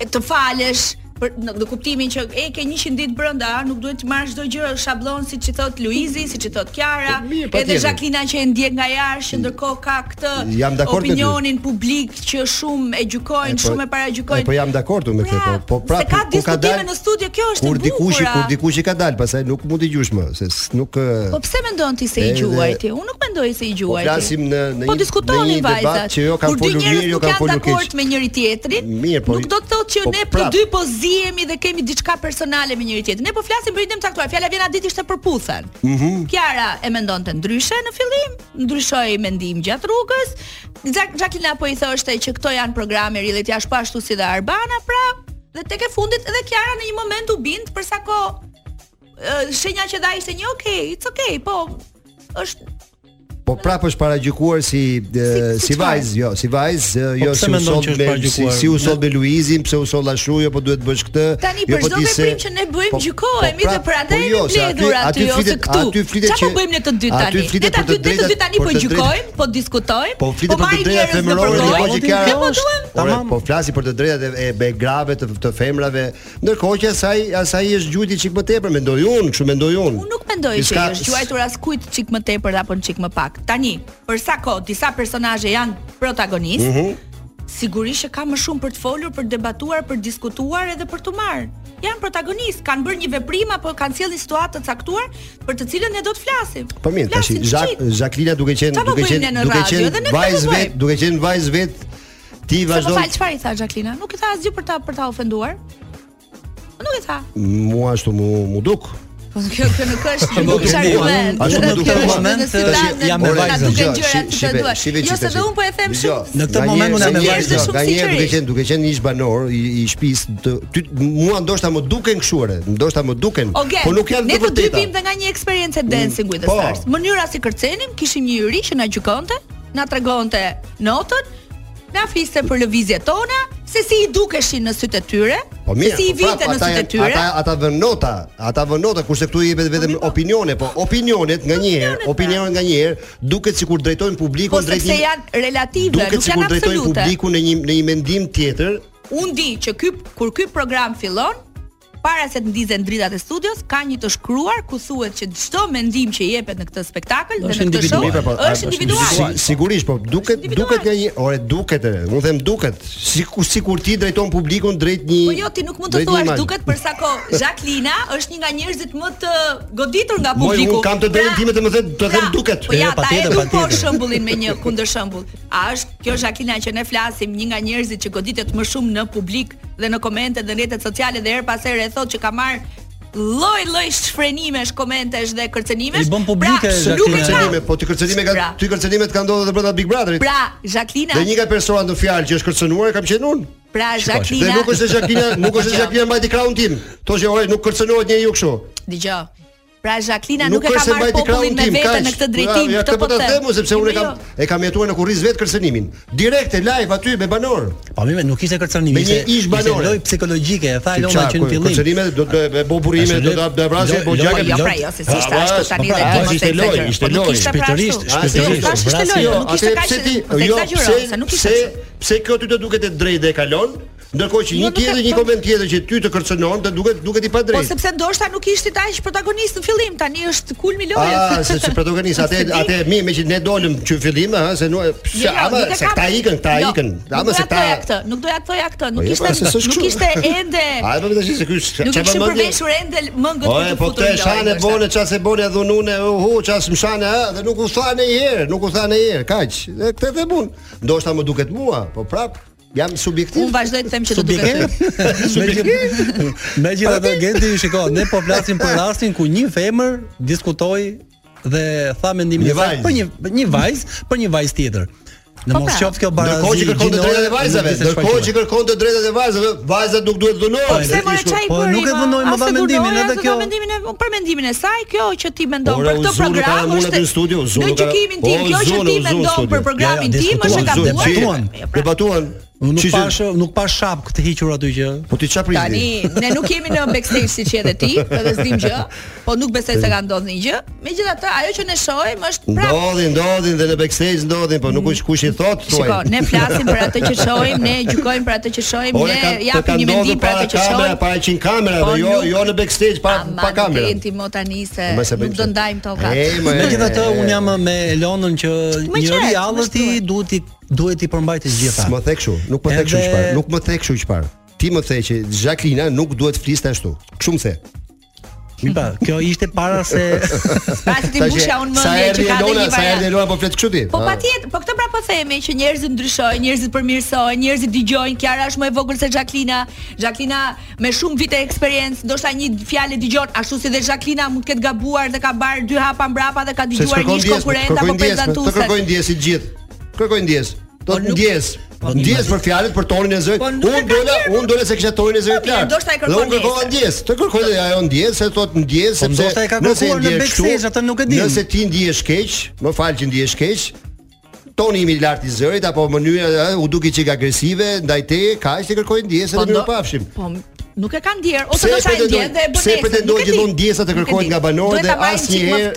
të të falesh për në, në kuptimin që e ke 100 ditë brenda, a, nuk duhet të marrësh çdo gjë shabllon siç i thot Luizi, siç i thot Kiara, Po mirë, edhe patjetër. Jacqueline që e ndjek nga jashtë, ndërkohë ka këtë Jam dakord me ty. opinionin publik që shumë e gjykojnë, po- shumë e E, Po paragjykojnë. jam dakord unë me këtë, po po prapë se ka kur ka diskutime dalë- në studio, kjo është kur e dikush i- bukura. kur dikush i ka dal, pastaj nuk mund të gjush më, se s- nuk e, Po pse mendon ti se i Edhe- gjuaj ti? Unë nuk mendoj se i po gjuaj ti. flasim në në Po diskutoni në një vajzat. debat që jo kanë Kur dy folur njerëz mirë, jo nuk kanë janë folur dakord keq. me njëri tjetrin. Mirë, po- nuk do të thotë që po ne për prap. dy po zihemi dhe kemi diçka personale me njëri tjetrin. Ne po flasim për idem caktuar. Fjala vjen atë ditë ishte përputhen. Mhm. Kiara e mendonte ndryshe në fillim, ndryshoi mendim gjatë rrugës. Jack- Jacqueline po i thoshte që këto janë programe reality ashtu pa ashtu si dhe Arbana, pra dhe tek e fundit edhe Kiara në një moment u bind për sa kohë ë, shenja që dha ishte një okay, it's okay, po është Po prapë është paragjykuar si e, Si- si si vajz, jo, si vajz, e, jo Po pse si u mendon soll që është me si, paragjykuar? si u soll me Luizin, pse u soll ashtu, jo po duhet bësh këtë. Tani jo, për çdo ti se- veprim që ne bëjmë gjykohemi prap- dhe prandaj po jemi se mbledhur aty ose këtu. Aty flitet Qa po bëjmë ne të dy tani? Aty flitet ne për të ne të dy drejtat. tani po për të gjykojmë, po diskutojmë, Po flitet për të marrim drejtat njerëz në femërore, jo, përdor. ndërkohë që Kiara Ne po duhem Ore, po flasi për të drejtat e, e begrave të, të femrave, ndërkohë që asaj asaj është gjujti çik më tepër, mendoj unë, kështu mendoj unë. Unë nuk mendoj që Ska- i është quajtur askujt çik më tepër apo çik më pak. Tani, për sa kohë disa personazhe janë protagonistë, Mhm. sigurisht që ka më shumë për të folur, për të debatuar, për të diskutuar edhe për të marrë. Janë protagonistë, kanë bërë një veprim apo kanë sjellë një situatë të caktuar për të cilën ne do të flasim. Po mirë, tash Flasin Jacques- qik. Jacqueline duke qenë Qa po duke bëjmë ne qenë në duke radio, edhe ne qenë këtë vajz po vet, bëjmë. duke qenë vajz vet, ti Se më vazhdon. fal, çfarë po i tha Jacqueline? Nuk i tha asgjë për ta për ta ofenduar. Nuk e tha. Mua ashtu mu mu duk. Po kjo kjo nuk është kjo nuk nuk është është argument. Ashtu më duket eh, Kjo është moment, nëse tash ta- jam me na vajzën. duken Dgjoj, gjërat shi- që shive- duhet. shive Jo që se tash- dhe unë po e them Dgjoj, shumë. Në këtë nga moment njerë- unë jam nga me njerë- vajzën. Nga njerë Jo, duke Sinqerisht. qenë duke qenë ish banor i, i shtëpisë, të- ty mua ndoshta më duken këshuare, ndoshta më duken, Ogen, po nuk janë ne të të dy vërteta. vim dhe nga një eksperiencë e Dancing with the po. Stars. Mënyra si kërcenim, kishim një yri që na gjykonte, na tregonte notën, na fliste për lëvizjet tona, se si i dukeshin në sytë e tyre, Po se mirë, si i po prap, vinte në ata sytë e janë- tyre. Ata ata vën nota, ata vën nota kurse këtu i jepet vetëm opinione, po opinionet nga një herë, Opinionet, pra. opinionet nga një herë duket sikur drejtojnë Po publikun drejt sepse një janë relative, duket nuk janë sikur drejtojnë absolute. publikun në një në një mendim tjetër, Unë di që ky kur ky program fillon, para se të ndizen dritat e studios, ka një të shkruar ku thuhet që çdo mendim që jepet në këtë spektakël dhe Është në këtë show individual. Po, a- është individual. Si, sigurisht, po duket Individual. duket nga një orë duket, e, unë them duket, sikur sikur ti drejton publikun drejt një Po jo, ti nuk mund të drejt një thuash imazhi. duket për sa kohë Jacqueline është një nga njerëzit më të goditur nga Moj, publiku. unë kam të drejtën Pra- time të më them të them pra, duket. Po ja, E, ta patjetër, hedhim po patjetër. shembullin me një kundër shembull. A është kjo Jacqueline që ne flasim, një nga njerëzit që goditet më shumë në publik dhe në komente dhe në rrjetet sociale dhe her pas here e thotë që ka marr lloj-lloj shfrenimesh, komentesh dhe kërcënimesh. I bën publike, pra, Jacqueline. nuk e ka. Kërcënime, po ti kërcënime ka Pra. ty kërcënimet kanë ndodhur edhe brenda Big Brotherit. Pra, Jacqueline, Dhe një nga persona në fjalë që është kërcënuar e kam qenë unë. pra Dhe Jacqueline. nuk <laughs> është e Jacqueline, nuk është e Jacqueline mbajti krahun tim. Thoshte, "Ore, nuk kërcënohet njeriu kështu." Dgjoj. Pra Jacqueline nuk, e ka marrë mbajti krahun popullin me tim, vete kaq. në këtë drejtim, Ja, ja, këtë këtë po ta them, unë, sepse unë e Jo, kam jo. e kam jetuar në kurriz vet kërcënimin. Direkte live aty me banor. Po mirë, nuk ishte kërcënim, Me një ishte ish banore. lojë psikologike, e tha Loma Qipçak, që në kur- fillim. Kërcënime do të e bë burime, Ashtu do loj- ta do vrasin loj- po gjaka. loj- Jo, pra, jo, se si ishte ashtu tani dhe dhe ti mos e ishte loj, exagero. ishte Po nuk loj. ishte pra ashtu. Shpirtërisht, Ah, se- shpirtërisht. thash ishte vrasi, loj, jo, Jo, nuk ishte atë kaq pse ti, mos e jo, exagjero, pse, se nuk ishte pse, kështu. pse kjo ty të duket e drejtë dhe e kalon, ndërkohë që një nuk e- tjetër një po- koment tjetër që ty të kërcënon, të duket duket i Po padrejtë. sepse ndoshta nuk ishte aq protagonist në fillim, tani është kulmi lojës. Ah, se si <laughs> protagonist, atë Po, Se di. atë mi me që ne dolëm që në fillim, ha, se nuk pse, Jo, jo, ama nuk e se kam- këta ikën, këta Jo, ikën. Ama nuk se doja këta thoja këtë, nuk doja thoja këtë, nuk Po, jo, ishte pra, se s'është nuk kështu. ishte ende. Ai po vetë si se ky Nuk çfarë ishte vëmendje? përveshur ende mëngët O për e të po futur te në shane lojë. bone çfarë se bone dhunune uhu çfarë mshane ë dhe nuk u tha në herë, nuk u tha në herë, kaq. Dhe këtë them unë. Ndoshta më duket mua, po prap jam subjektiv. Unë vazhdoj të them që do duket. <laughs> <laughs> Me gjithë atë Genti, shiko, ne po flasim për rastin ku një femër diskutoi dhe tha mendimin Një e saj vajzë. për një për një vajzë, për një vajzë tjetër. Në Po mos pra. qoftë kjo barazi. Ndërkohë që kërkon të drejtat e gjinore, nuk vajzave, di se ndërkohë çfarë që kërkon të drejtat e vajzave, vajzat nuk duhet dhunohen. Pse more Ishku- çaj po, bëri, nuk e ma? vënoj, më As dha e mendimin, vënoj, as edhe e kjo- dha mendimin e për mendimin e saj, kjo që ti mendon Ora, për u këtë zunu ka program mundë është aty në studio, u zunu Në ka- gjykimin O, tim, kjo që ti zunu, u zunu në mendon studio. për programin Ja, ja, tim është e diskutuan, Zonë, gabuar. që- Debatuan. pra. Debatuan. Nuk Që- që- pash nuk pa shapk të hequr aty që. Po ti çfarë prisni? Tani, ne nuk jemi në backstage siç je edhe ti, edhe s'dim gjë, po nuk besoj se ka ndodhur një gjë. Megjithatë, ajo që ne shohim është prapë Ndodhin, ndodhin dhe në backstage ndodhin, po nuk është kush i thot thuaj. Mm. Shiko, ne flasim për atë që shohim, ne gjykojmë për atë që shohim, Ora, ne ka- po ka japim një ndodhur mendim për para atë që kamera, shohim. para 100 kamera, Po dhe jo nuk- jo në backstage pa Ama pa kamera. Nuk e intimo tani se Ma se bëjmë nuk do se. ndajmë tokat. E, ma, e, Megjithatë e, e. un jam me Elonën që Më një qet, më reality shtuaj. duhet i duhet i përmbajtë të gjitha. S'më the kështu, nuk më the kështu Edhe- çfarë, nuk më the kështu çfarë. Ti më the që Jacqueline nuk duhet fliste ashtu. Kështu më the. Mi pa, kjo ishte para se <laughs> Pra se ti Tash, mbushja unë sa mendje që erdhi ka dhe Elona, një sa erdhi variant. Elona po flet kështu ti. Po Ah. patjetër, po këtë pra po themi që njerëzit ndryshojnë, njerëzit përmirësojnë, njerëzit dëgjojnë. Kiara është më e vogël se Jacqueline. Jacqueline me shumë vite eksperiencë, ndoshta një fjalë dëgjon ashtu si dhe Jacqueline mund të ketë gabuar dhe ka barë dy hapa mbrapa dhe ka Se dëgjuar s'kërkon një ndjes, konkurrent kërkojnë apo ndjes, Të prezantuese. kërkojnë ndjes po i gjithë. Kërkojnë ndjes. Do Po të nuk- ndjes. Ndjes për fjalët, për tonin e zërit. Po nuk e Unë ka dola, ndjerë, po- unë dola se kisha tonin e zërit Po mirë, lart. ndoshta e Dhe kërkon Po, unë kërkova ndjes. ndjes. Të kërkoj dhe ajo ndjes, se thot ndjes, sepse ndoshta e ka nëse kërkuar në ndjesh kështu, backstage, atë nuk e dim. Nëse ti ndihesh keq, më fal që ndihesh keq, toni im i lart i zërit apo mënyra ë, u duki çik agresive ndaj teje, kaq të kërkoj ndjes Po edhe ndo- mirë pafshim. Po m- nuk e kanë ndjer, ose Pse do shajnë ndjer pretendojnë- dhe e bën. pse pretendojnë gjithmonë ndjesa të kërkohen nga banorët dhe asnjëherë-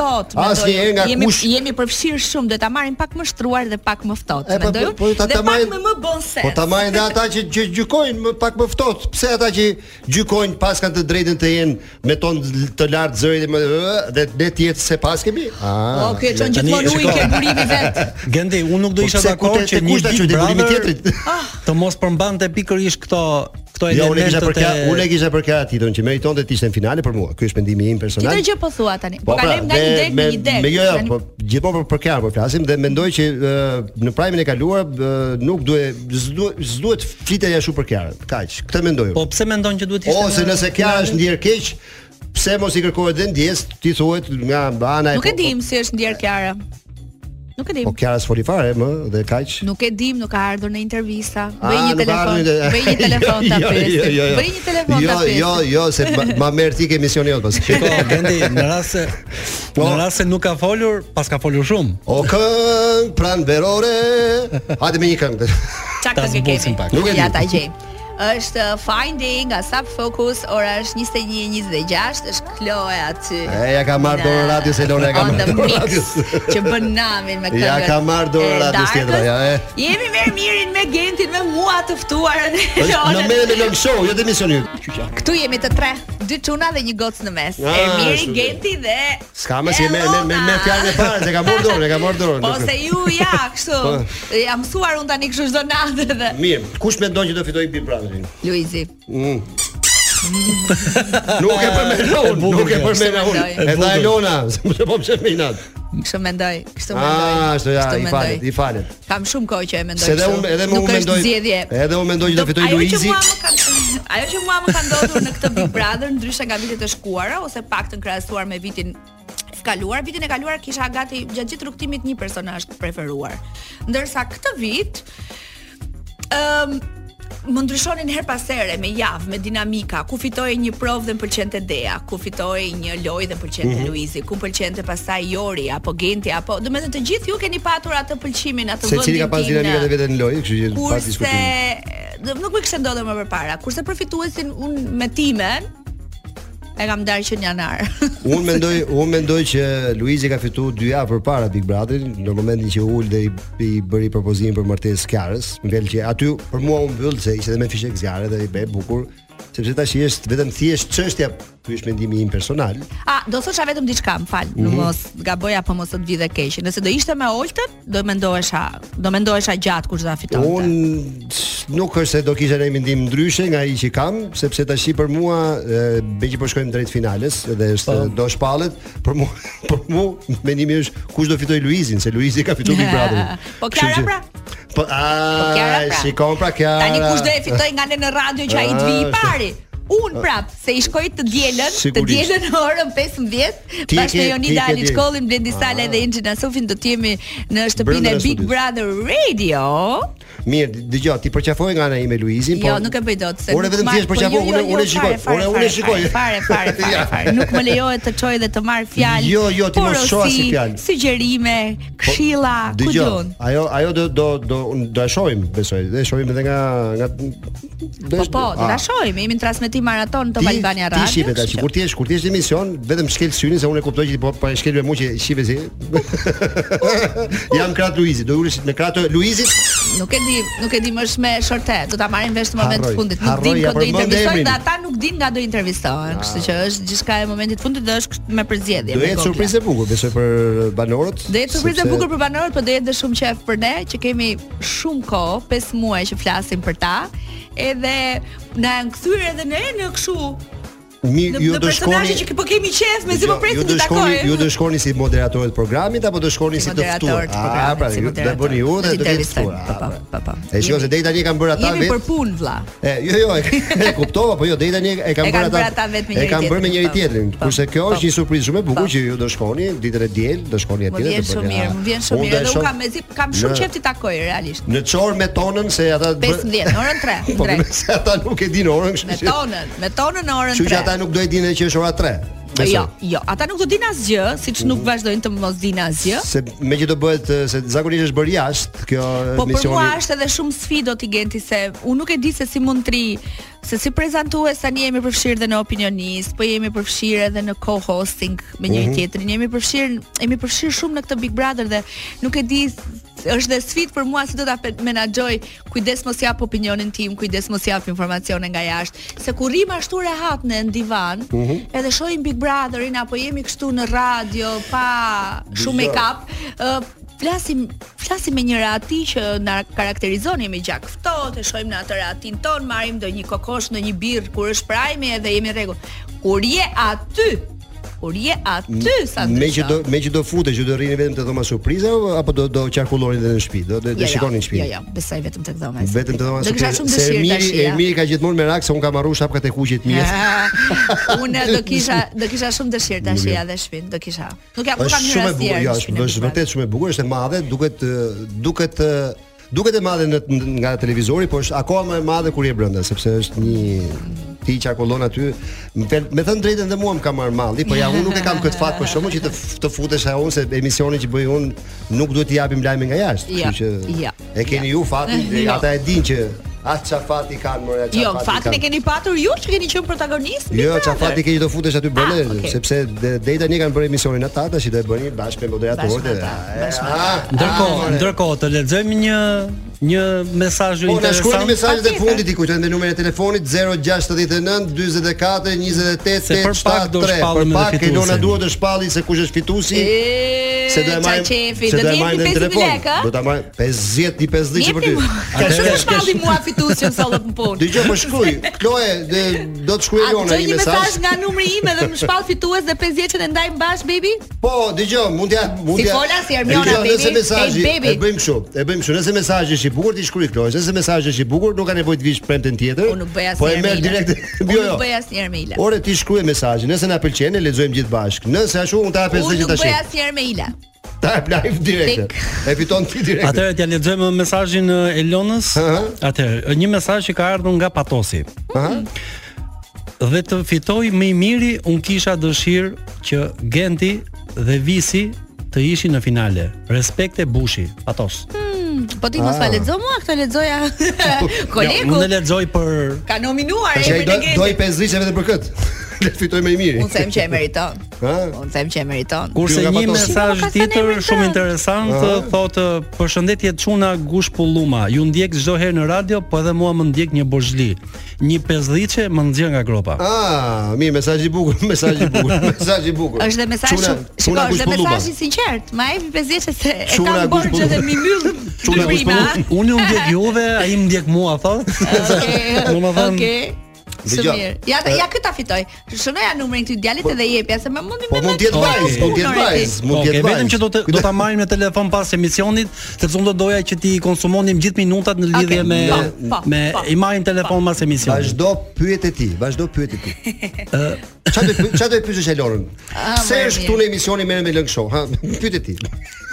asnjëherë nga jemi, kush- jemi përfshirë shumë, do ta marrin pak më shtruar dhe pak më ftohtë, E, po, mendoj. po, po, ta- Dhe ta pak marrin- më më bën sens. Po ta marrin dhe <laughs> ata që që gjykojnë më pak më ftohtë. Pse ata që gjykojnë pas kanë të drejtën të jenë me ton të lartë zërit dhe më- dhe ne të jetë se pas kemi? Po Ah. ky e çon tani, gjithmonë ujë shiko. ke burimi vet. <laughs> Gendi, unë nuk do Po isha pse ku dakord te- që te një kush ta Big qoj deputimin Brother tjetrit? të mos përmbante pikërisht këto këto Jo, unë e kisha elemente për të kja, unë e kisha për kja titon që meritonte të ishte në finale për mua. Ky është mendimi im personal. pra, Tjetër gjë po thua tani. Po pra, kalojmë nga një dhe dek në me- një dek. Me jo, jo, Tani- po gjithmonë për për kja po flasim dhe mendoj që ë, në primin e kaluar ë, nuk duhet s'duhet s'duhet flitja ashtu për kjarën. Kaq. Këtë mendoj. unë. Po pse mendon që duhet ishte? Ose në- nëse kja është ndjer keq, pse mos i kërkohet dhe ndjes, ti thuhet nga ana e Nuk e dim si është ndjer Kiara. Nuk e dim. Po Kiara s'foli fare më dhe kaq. Nuk e dim, nuk ka ardhur në intervista. Ah, Bëj një nuk Jo, telefon, ardhin te- <laughs> bëj një telefon ta pyesim. Bëj një telefon jo, ta pyesim. Jo, jo, se ma- ma merr ti ke emisioni jot pas. Shiko, Gendi, në rast se Po. në rast se nuk ka folur, pas ka folur shumë. O këngë pranë verore. Hajde me një këngë. Çak Ta të ke zbusim kemi. pak. Nuk e Ja di. ta gjej. Është uh, Fine Day nga Sub Focus, ora është 21:26, është Chloe aty. E, ja ka marrë Në- dorën radios, Elona ja ka on marrë the dorën mix, <laughs> radios. Që bën namin me këngën. Ja ka marrë dorën e radios tjetra, darkës. ja, e. Jemi me Mirin, me Gentin, me mua të ftuarën. <laughs> Është Po, në Elonën. merre me long show, jo te emisioni jot. Këtu jemi të tre, dy çuna dhe një gocë në mes. Ah, Emiri, ashtu. Genti dhe S'ka më si me me me, me Elona. fjalën e parë, se ka marrë dorën, e ka marrë dorën. Po se ju ja, kështu. Po. Jam mësuar un tani kështu çdo natë dhe <laughs> Mirë, kush mendon që do fitoj Big Brotherin? Luizi. Mm. Nuk e përmenda unë, nuk e përmenda unë. E E tha Elona, se më po më minat. Kështu mendoj, kështu mendoj. Ah, ashtu ja, kështu i mendoj. falet, i falet. Kam shumë kohë që e mendoj. Se edhe kështu. unë edhe më Nuk unë është mendoj. zgjedhje. Edhe unë mendoj që do fitoj Ajo që Luizi. mua më ka <laughs> ajo që mua më ka ndodhur në këtë Big Brother ndryshe nga vitet e shkuara ose paktën krahasuar me vitin e kaluar, vitin e kaluar kisha gati gjatë gjithë rrugtimit një personazh të preferuar. Ndërsa këtë vit ëm më ndryshonin her pas here me javë, me dinamika, ku fitoi një provë dhe më pëlqente Dea, ku fitoi një lojë dhe më pëlqente Mhm. Luizi, ku pëlqente pastaj Jori apo Genti apo, domethënë të gjithë ju keni patur atë pëlqimin, atë Se cili ka pas tim në- dinamikat e vetë në lojë, kështu që pa Kurse diskutim. do nuk më kishte ndodhur më përpara. Kurse përfituesin un me timen e kam darë që në janar. Unë mendoj, unë mendoj që Luizi ka fituar dy javë përpara Big Brotherin, në momentin që ul dhe i, i bëri propozimin për martesë Kiarës, më vjen që aty për mua u mbyll se ishte edhe me fishek zjarre dhe i be bukur, sepse tash është vetëm thjesht çështja, ky është mendimi im personal. <laughs> A, do thosha vetëm diçka, më fal, në Mhm. mos gaboj apo mos të të vijë dhe keq. Nëse do ishte me Oltën, do mendohesha, do mendohesha gjatë kur ta fitonte. Unë nuk është se do kisha një mendim ndryshe nga ai që kam, sepse tash për mua e, be që po shkojmë drejt finales dhe është Po. do shpallet, për mua <laughs> për mua mendimi është kush do fitoj Luizin, se Luizi ka fituar Big Brotherin. <laughs> Po Kiara Kështu që- pra? Po a Kiara pra? shikon pra Kiara. Tani kush do e fitoj nga ne në radio që ai të vi i Ah, pari? Un prap, se i shkoj të dielën, të Sigurisht. dielën në orën 15, Ti e bashkë me ke- Jonida ti e ke dielën. Ah. Aliçkollin, Blendi Sala dhe Inxhina Sofin do të jemi në Brenda shtëpinë e Big studios. Brother Radio. Mirë, dëgjoj, ti përqafoj nga ana ime Luizin, Jo, po nuk e bëj dot se. Ore nuk vetëm marr- thjesht për po, çfarë, jo, jo, unë- jo, unë e fare, shikoj, fare, unë- fare, unë e shikoj. Fare, fare, fare, <laughs> Ja. fare. Nuk më lejohet të çoj dhe të marr fjalë. Jo, jo, ti mos shoha si porosi, fjalë. Po, Sugjerime, këshilla, ku Dëgjoj, diun. ajo ajo do do do do e shohim, besoj. Do e shohim edhe nga nga Po po, do ta Ah. shohim, jemi në transmetim maraton të Albania Radio. Ti shipe tash, kështu që- kur ti je kur ti je në emision, vetëm shkel syrin se unë e kuptoj që ti po po e shkel me mua që shipe si. <laughs> Jam krat Luizi, do ulesh me kratë Luizit. Nuk e di, nuk e di më është me shorte. Do ta marrim vesh në moment të Harroj, fundit. Nuk harroj, din ja ku do përmend intervistojnë emrin. Ah. dhe ata nuk din nga do intervistohen. Kështu që është gjithçka e momentit të fundit dhe është kësht- me përzgjedhje. Do me jetë gogla. surprizë e bukur, besoj për uh, banorët. Do jetë surprizë e sepse- bukur për banorët, por do jetë dhe shumë qejf për ne që kemi shumë kohë, 5 muaj që flasim për ta. Edhe na janë kthyer edhe ne në kështu. Mi, Në, ju në do personazhe shkoni. që po kemi qejf, mezi po Jo, presim ju do të shkoni, takojmë. ju do shkoni si moderatorët e programit apo do shkoni si të ftuar? moderatorët e programit, pra, si ju do moderatorët. bëni ju Do dhe t'i do të intervistojmë, ftuar. po, po, po, po. E shikoj se deri tani e kanë bërë ata Jemi vetë. për punë vlla. E, jo, jo, e, e kuptova, po jo, deri tani e E kanë kanë bërë bërë ata. ata vetë me njëri E kanë bërë me njëri tjetrin, tjetrin. po, Kurse kjo po. është një surprizë shumë e bukur që ju do shkoni ditën e diel, do shkoni Më atje vjen do shumë bëni, mirë, a. më vjen shumë Unë mirë. do e Edhe unë shoh kam mezi, kam shumë në- qejf të takoj realisht. Në çor me tonën se ata bë- 15 në orën 3, <laughs> Po drejt. se ata nuk e dinë orën, Me kështu që. tonën, me tonën në orën Kështu 3. që ata nuk do e dinë që është ora 3. Jo, jo, ata nuk do dinë asgjë, siç nuk vazhdojnë të mos dinë asgjë. Se me që do bëhet e, se zakonisht është bërë jashtë kjo e, Po për misioni. mua është edhe shumë sfidë ti genti se unë nuk e di se si mund tri, se si prezantues tani jemi përfshirë dhe në opinionist, po jemi përfshirë edhe në co-hosting me njëri Mhm. tjetrin, jemi përfshirë jemi përfshirë shumë në këtë Big Brother dhe nuk e di është dhe sfidë për mua si do ta pe- menaxhoj, kujdes mos jap opinionin tim, kujdes mos jap informacione nga jashtë, se kur rrim ashtu rehat në në divan, Mhm. edhe shohim Big Brotherin apo jemi kështu në radio pa Dëgjoj. shumë make-up, ë, flasim flasim me njëra ati që na karakterizon jemi gjak ftohtë, e shohim në atë ratin ton, marrim ndonjë kokosh, ndonjë birr kur është prajmi edhe jemi rregull. Kur je aty, kur je aty sa Me që do me që do futet që do rrini vetëm te dhoma surpriza apo do do qarkullonin edhe në shtëpi, do do, do shikonin në shtëpi. Jo, jo, besoj vetëm tek dhoma. Vetëm të dhoma Do kisha surpriza. shumë Se dëshirë Ermiri, tash. ja. Ermiri ka gjithmonë merak se un kam marrë shapkat e kuqe të mia. <laughs> Ah, <laughs> Unë do kisha do kisha shumë dëshirë tash ja dhe shtëpinë, do kisha. Nuk jam nuk Është kam hyrë shumë e asnjëherë. bukur, jo, në është shtëpinë e është vërtet shumë e bukur, është e madhe, duket e, duket e, duket e madhe në, në- nga televizori, por është akoma më e madhe kur je brenda, sepse është një ti qarkullon aty. Më fel, me thënë drejtën dhe mua më ka marr malli, po ja unë nuk e kam këtë fat për shkakun që të f- të futesh ajo unë se emisioni që bëj unë nuk duhet t'i japim lajme nga jashtë, Jo, kështu që jo, e keni ju fatin, e, <laughs> Jo. ata e dinë që as çafati kanë, more çafati. Jo, fatin e keni patur ju që keni qenë protagonist. Big Jo, Brother. çafati ke që do futesh aty brenda, Ah, okay. sepse de- deri tani kanë bërë emisionin ata, tash i do e bëni bashkë me moderatorët. Bashkë me e- Ah, ata, e- bashkë me a, ata. Ndërkohë, ndërkohë të lexojmë një një mesazh Po na interesant. shkruani mesazhet e fundit, i kujtojmë dhe numrin e telefonit 069 44 28 Se për pak do 873. Për shpallëm edhe pak fituesin. Elona duhet të shpalli se kush është fituesi. Se do e qa marrim. qefi, se do do e t'jepni marrim dhe në 50.000 telefon. lekë, a? Do ta marrim 50 i 50 për ty. Jepni mua. Ka shumë shpalli mua fituesin sollët në punë. Dëgjoj po shkruaj. Kloe, dhe- do të shkruaj A Elona dëgjoj një një mesazh. mesazh nga numri im edhe më shpall fitues dhe 50 që ne ndajmë bash baby? Po, dëgjoj, mund t'ja mund Si t'ja. fola, si Hermiona, Dëgjoj, Nëse baby, mesazhi hey, baby. e bëjmë kështu, e bëjmë kështu. Nëse mesazhi është i bukur, ti shkruaj Kloe. Nëse mesazhi është i bukur, nuk ka nevojë të vish premten tjetër. Unë nuk bëj asnjëherë. Po e merr mail. <laughs> direkt. Unë <laughs> Jo, nuk jo. bëj asnjëherë mail. Ore ti shkruaj mesazhin, nëse na pëlqen e lexojmë gjithë bashkë. Nëse ashtu unë ta hapes Unë që nuk tash. bëj asnjëherë mail. Ta e live direkt. E fiton ti direkt. Atëherë t'ja lexojmë mesazhin e Elonës. Atëherë, një mesazh që ka ardhur nga Patosi. Dhe të fitoj më i miri, un kisha dëshirë që Genti dhe Visi të ishin në finale. Respekte Bushi, Patos. Hmm, po ti mos pa Ah. lexo mua, këtë <laughs> lexoja kolegu. unë e lexoj për Ka nominuar Tash ai emrin do e Gentit. do i pesë liçe vetëm për kët. <laughs> Le të fitoj më i miri. Unë them që e meriton. Ha? Unë them që e meriton. Kurse një mesazh tjetër shumë interesant Aha. thotë përshëndetje çuna gush pulluma. Ju ndjek çdo herë në radio, po edhe mua më ndjek një borzhli. Një pesdhiçe më nxjerr nga gropa. <laughs> Ah, mi mesazh i bukur, <laughs> mesazh i bukur, mesazh i bukur. Është dhe mesazh shumë, shiko, është dhe po mesazh i sinqert. Ma e 50 se e Çuna kam kush borxhe pullum. dhe mi <laughs> mbyll. Çuna gush prima. pulluma. Unë u ndjek juve, ai më ndjek mua, thotë. Domethënë, Okej. Shumë Dëgjoj. mirë. Ja Eh. ja këta fitoj. Shënoja numrin këtij djalit edhe jepja se më mundi Po më. mund të jetë vajz, mund të jetë vajz, mund të Okej, jetë vajz. vetëm që do të do ta marrim në telefon pas emisionit, sepse unë do doja që ti konsumonim gjithë minutat në lidhje Okej, me po, po, me po, i marrim telefon pas emisionit. Vazhdo pyetje ti, vazhdo pyetje ti. Çfarë do py- çfarë do të pyetësh Elorën? Ah, Pse më e është mirë. këtu në emisionin merrem me Lëng Show, ha? Pyetje ti.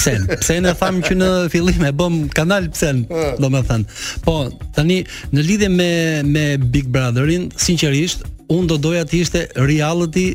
Pse? Pse ne tham që në fillim e bëm kanal psen, domethënë. Po, tani në lidhje me me Big Brotherin, sinqerisht, unë do doja të ishte reality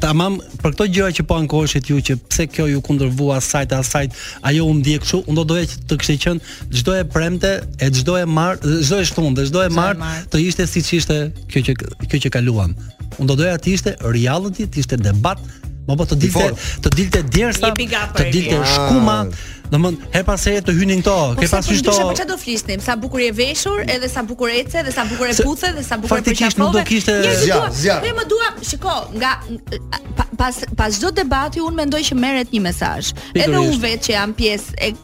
Tamam, për këto gjëra që po ankoheshit ju që pse kjo ju kundërvua asajt asajt, ajo u ndje kështu, unë do doja që të kishte qenë çdo e premte, e çdo e marr, çdo e shtunë, dhe çdo e marr të ishte siç ishte kjo që kjo që kaluam. Unë do doja të ishte reality, të ishte debat, më po të dilte të dilte djersa, të dilte Elina. shkuma, domthon her pas here të hynin këto, Po ke se pasur ndryshe për këto. çfarë do flisnim? Sa bukur je veshur, edhe sa bukur ece, dhe sa bukur e Se futhe, dhe sa bukur e faktikisht nuk do përqafove. kishte- Njerëzit Zjarr, duan- zjarr. Ne më duam, shiko, nga pa, pas pas çdo debati unë mendoj që merret një mesazh. Edhe Pikërisht. unë vetë që jam pjesë e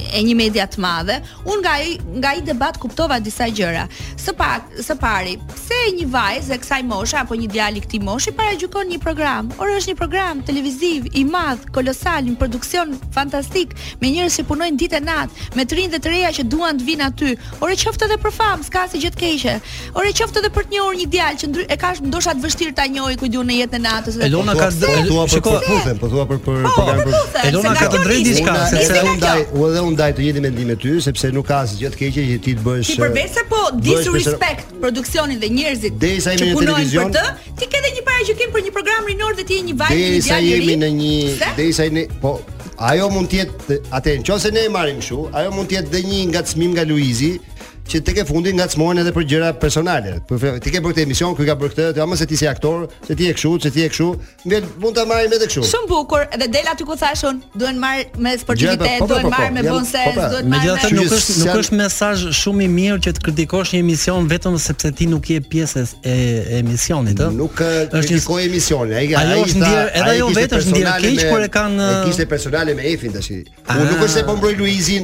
e një media të madhe, unë nga ai nga ai debat kuptova disa gjëra. Së pak, së pari, pse një vajzë e kësaj moshe apo një djalë i këtij moshi paragjykon një program? Ora është një program televiziv i madh, kolosal, një produksion fantastik me njerëz që punojnë ditë e natë, me të rinj dhe të reja që duan të vinë aty. Ore qoftë edhe për famë, s'ka asgjë gjë të keqe. Ore qoftë edhe për të njohur një djalë që ndry, e ka ndoshta të vështirë ta njohë ku diun në jetën e natës. dhe- Elona Po, ka pse? Po thua për Shiko- për futhen, po thua për për Po, program për futhen, Elona se nga ka të kjo drejtë diçka, nisi. sepse- sepse Nisi nga unë ndaj, unë edhe unë ndaj të jeti mendim me ty, sepse nuk ka asgjë të keqe që ti të bësh. Ti përveç se po bësh disrespect produksionin dhe njerëzit Derisa jemi që në punojnë për televizion- të, ti ke edhe një paragjykim për një program rinor dhe ti je një vajzë një Derisa djalë i ri. jemi në një, Pse? derisa ne, po ajo mund të jetë atë, nëse ne e marrim kështu, ajo mund të jetë dhe një ngacmim nga Luizi që tek e fundi ngacmohen edhe për gjëra personale. Për fe- ti ke bërë këtë emision, ky ka bërë këtë, ti ama se ti si aktor, se ti je kështu, se ti je kështu, mbel mund ta marrim edhe kështu. Shumë bukur, edhe del aty ku thashun, duhen marr me sportivitet, Gjë, po, po, duhen po, po, marr me jam- bon sens, po, po, duhet marr Megjithatë me nuk është nuk është mesazh shumë i mirë që të kritikosh një emision vetëm sepse ti nuk je pjesë e- e e emisionit, ë? Nuk kritikoj emisionin. Ai Ajo ai është tha- ndjer, edhe ai ajo kishte vetë është ndjer personale keq me- kur e kanë E kishte personale me Efin tash. Unë Ah. nuk është se po mbroj Luizin.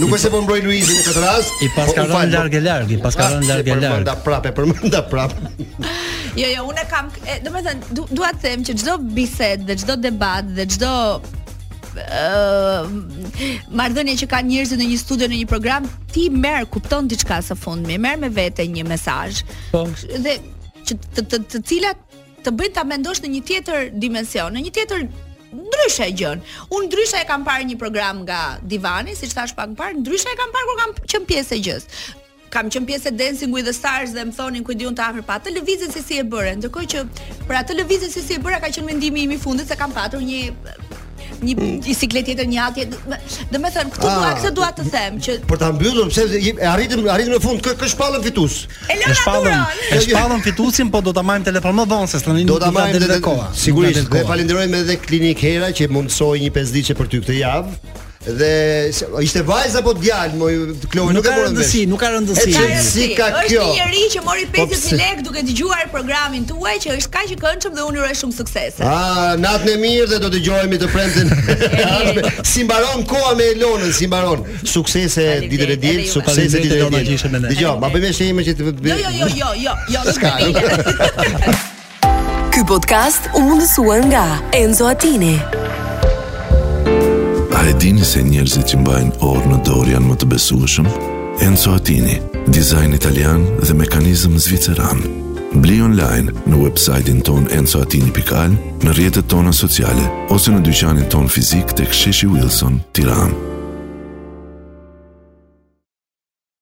Nuk është se po mbroj Luizin në këtë rast. I paska po, u rënë fal, po- larg e larg, i paska Ah, rënë se larg e Përmenda prapë, e përmenda prapë. Jo, jo, unë e kam, e, do me thënë, du, dua të them që çdo bisedë dhe çdo debat dhe çdo ë marrëdhënie që kanë njerëzit në një studio në një program, ti merr, kupton diçka së fundmi, merr me vete një mesazh. Po. Dhe që të të, të cilat të bëjnë ta mendosh në një tjetër dimension, në një tjetër ndryshe gjën. Unë ndryshe e kam parë një program nga divani, siç thash pak më parë, ndryshe e kam parë kur kam qenë pjesë e gjës. Kam qenë pjesë e Dancing with the Stars dhe më thonin ku diun të afër pa atë lëvizjen se si e bëre. Ndërkohë që për atë lëvizjen se si e bëra ka qenë mendimi im i fundit se kam patur një një bicikletë tjetër, një atje. Domethënë, këtu dua, Ah. këtë dua të them që Për ta mbyllur pse i- e arritëm arritëm në fund kë kë shpallën fitus. E shpallën, e shpallën fitusin, po do ta marrim telefon më vonë se tani Do nuk ta marrim del dhe koha. Sigurisht, Nuk na dhe del koha. falenderojmë edhe Klinik Hera që mundsoi një pesdiçe për ty këtë javë. Dhe se- ishte vajzë apo djalë, moj Kloe, Nuk nuk e ka morën vesh. rëndësi, nuk ka rëndësi. E Ka çfarë si ka kjo? Është një njerëz që mori Po 50000 pse? lekë duke dëgjuar programin tuaj që është kaq i këndshëm dhe unë uroj shumë suksese. Ah, natën e mirë dhe do dëgjohemi të <laughs> premten. si mbaron koha me Elonën, si mbaron. Suksese ditën e diel, suksese Faleminderit, ditën e Elona, që diel. ishe me ne. Dgjoj, ma bëjmë shihime që të Jo, jo, jo, jo, jo, jo, nuk Ska, me nuk- dele. Ky podcast u mundësua nga Enzo Attini. A e dini se njerëzit që mbajnë orë në dorë janë më të besueshëm? Enzo Attini, dizajn italian dhe mekanizëm zviceran. Bli online në websajtin ton encoatini.al, në rrjetet tona sociale ose në dyqanin ton fizik tek Sheshi Wilson, Tiranë.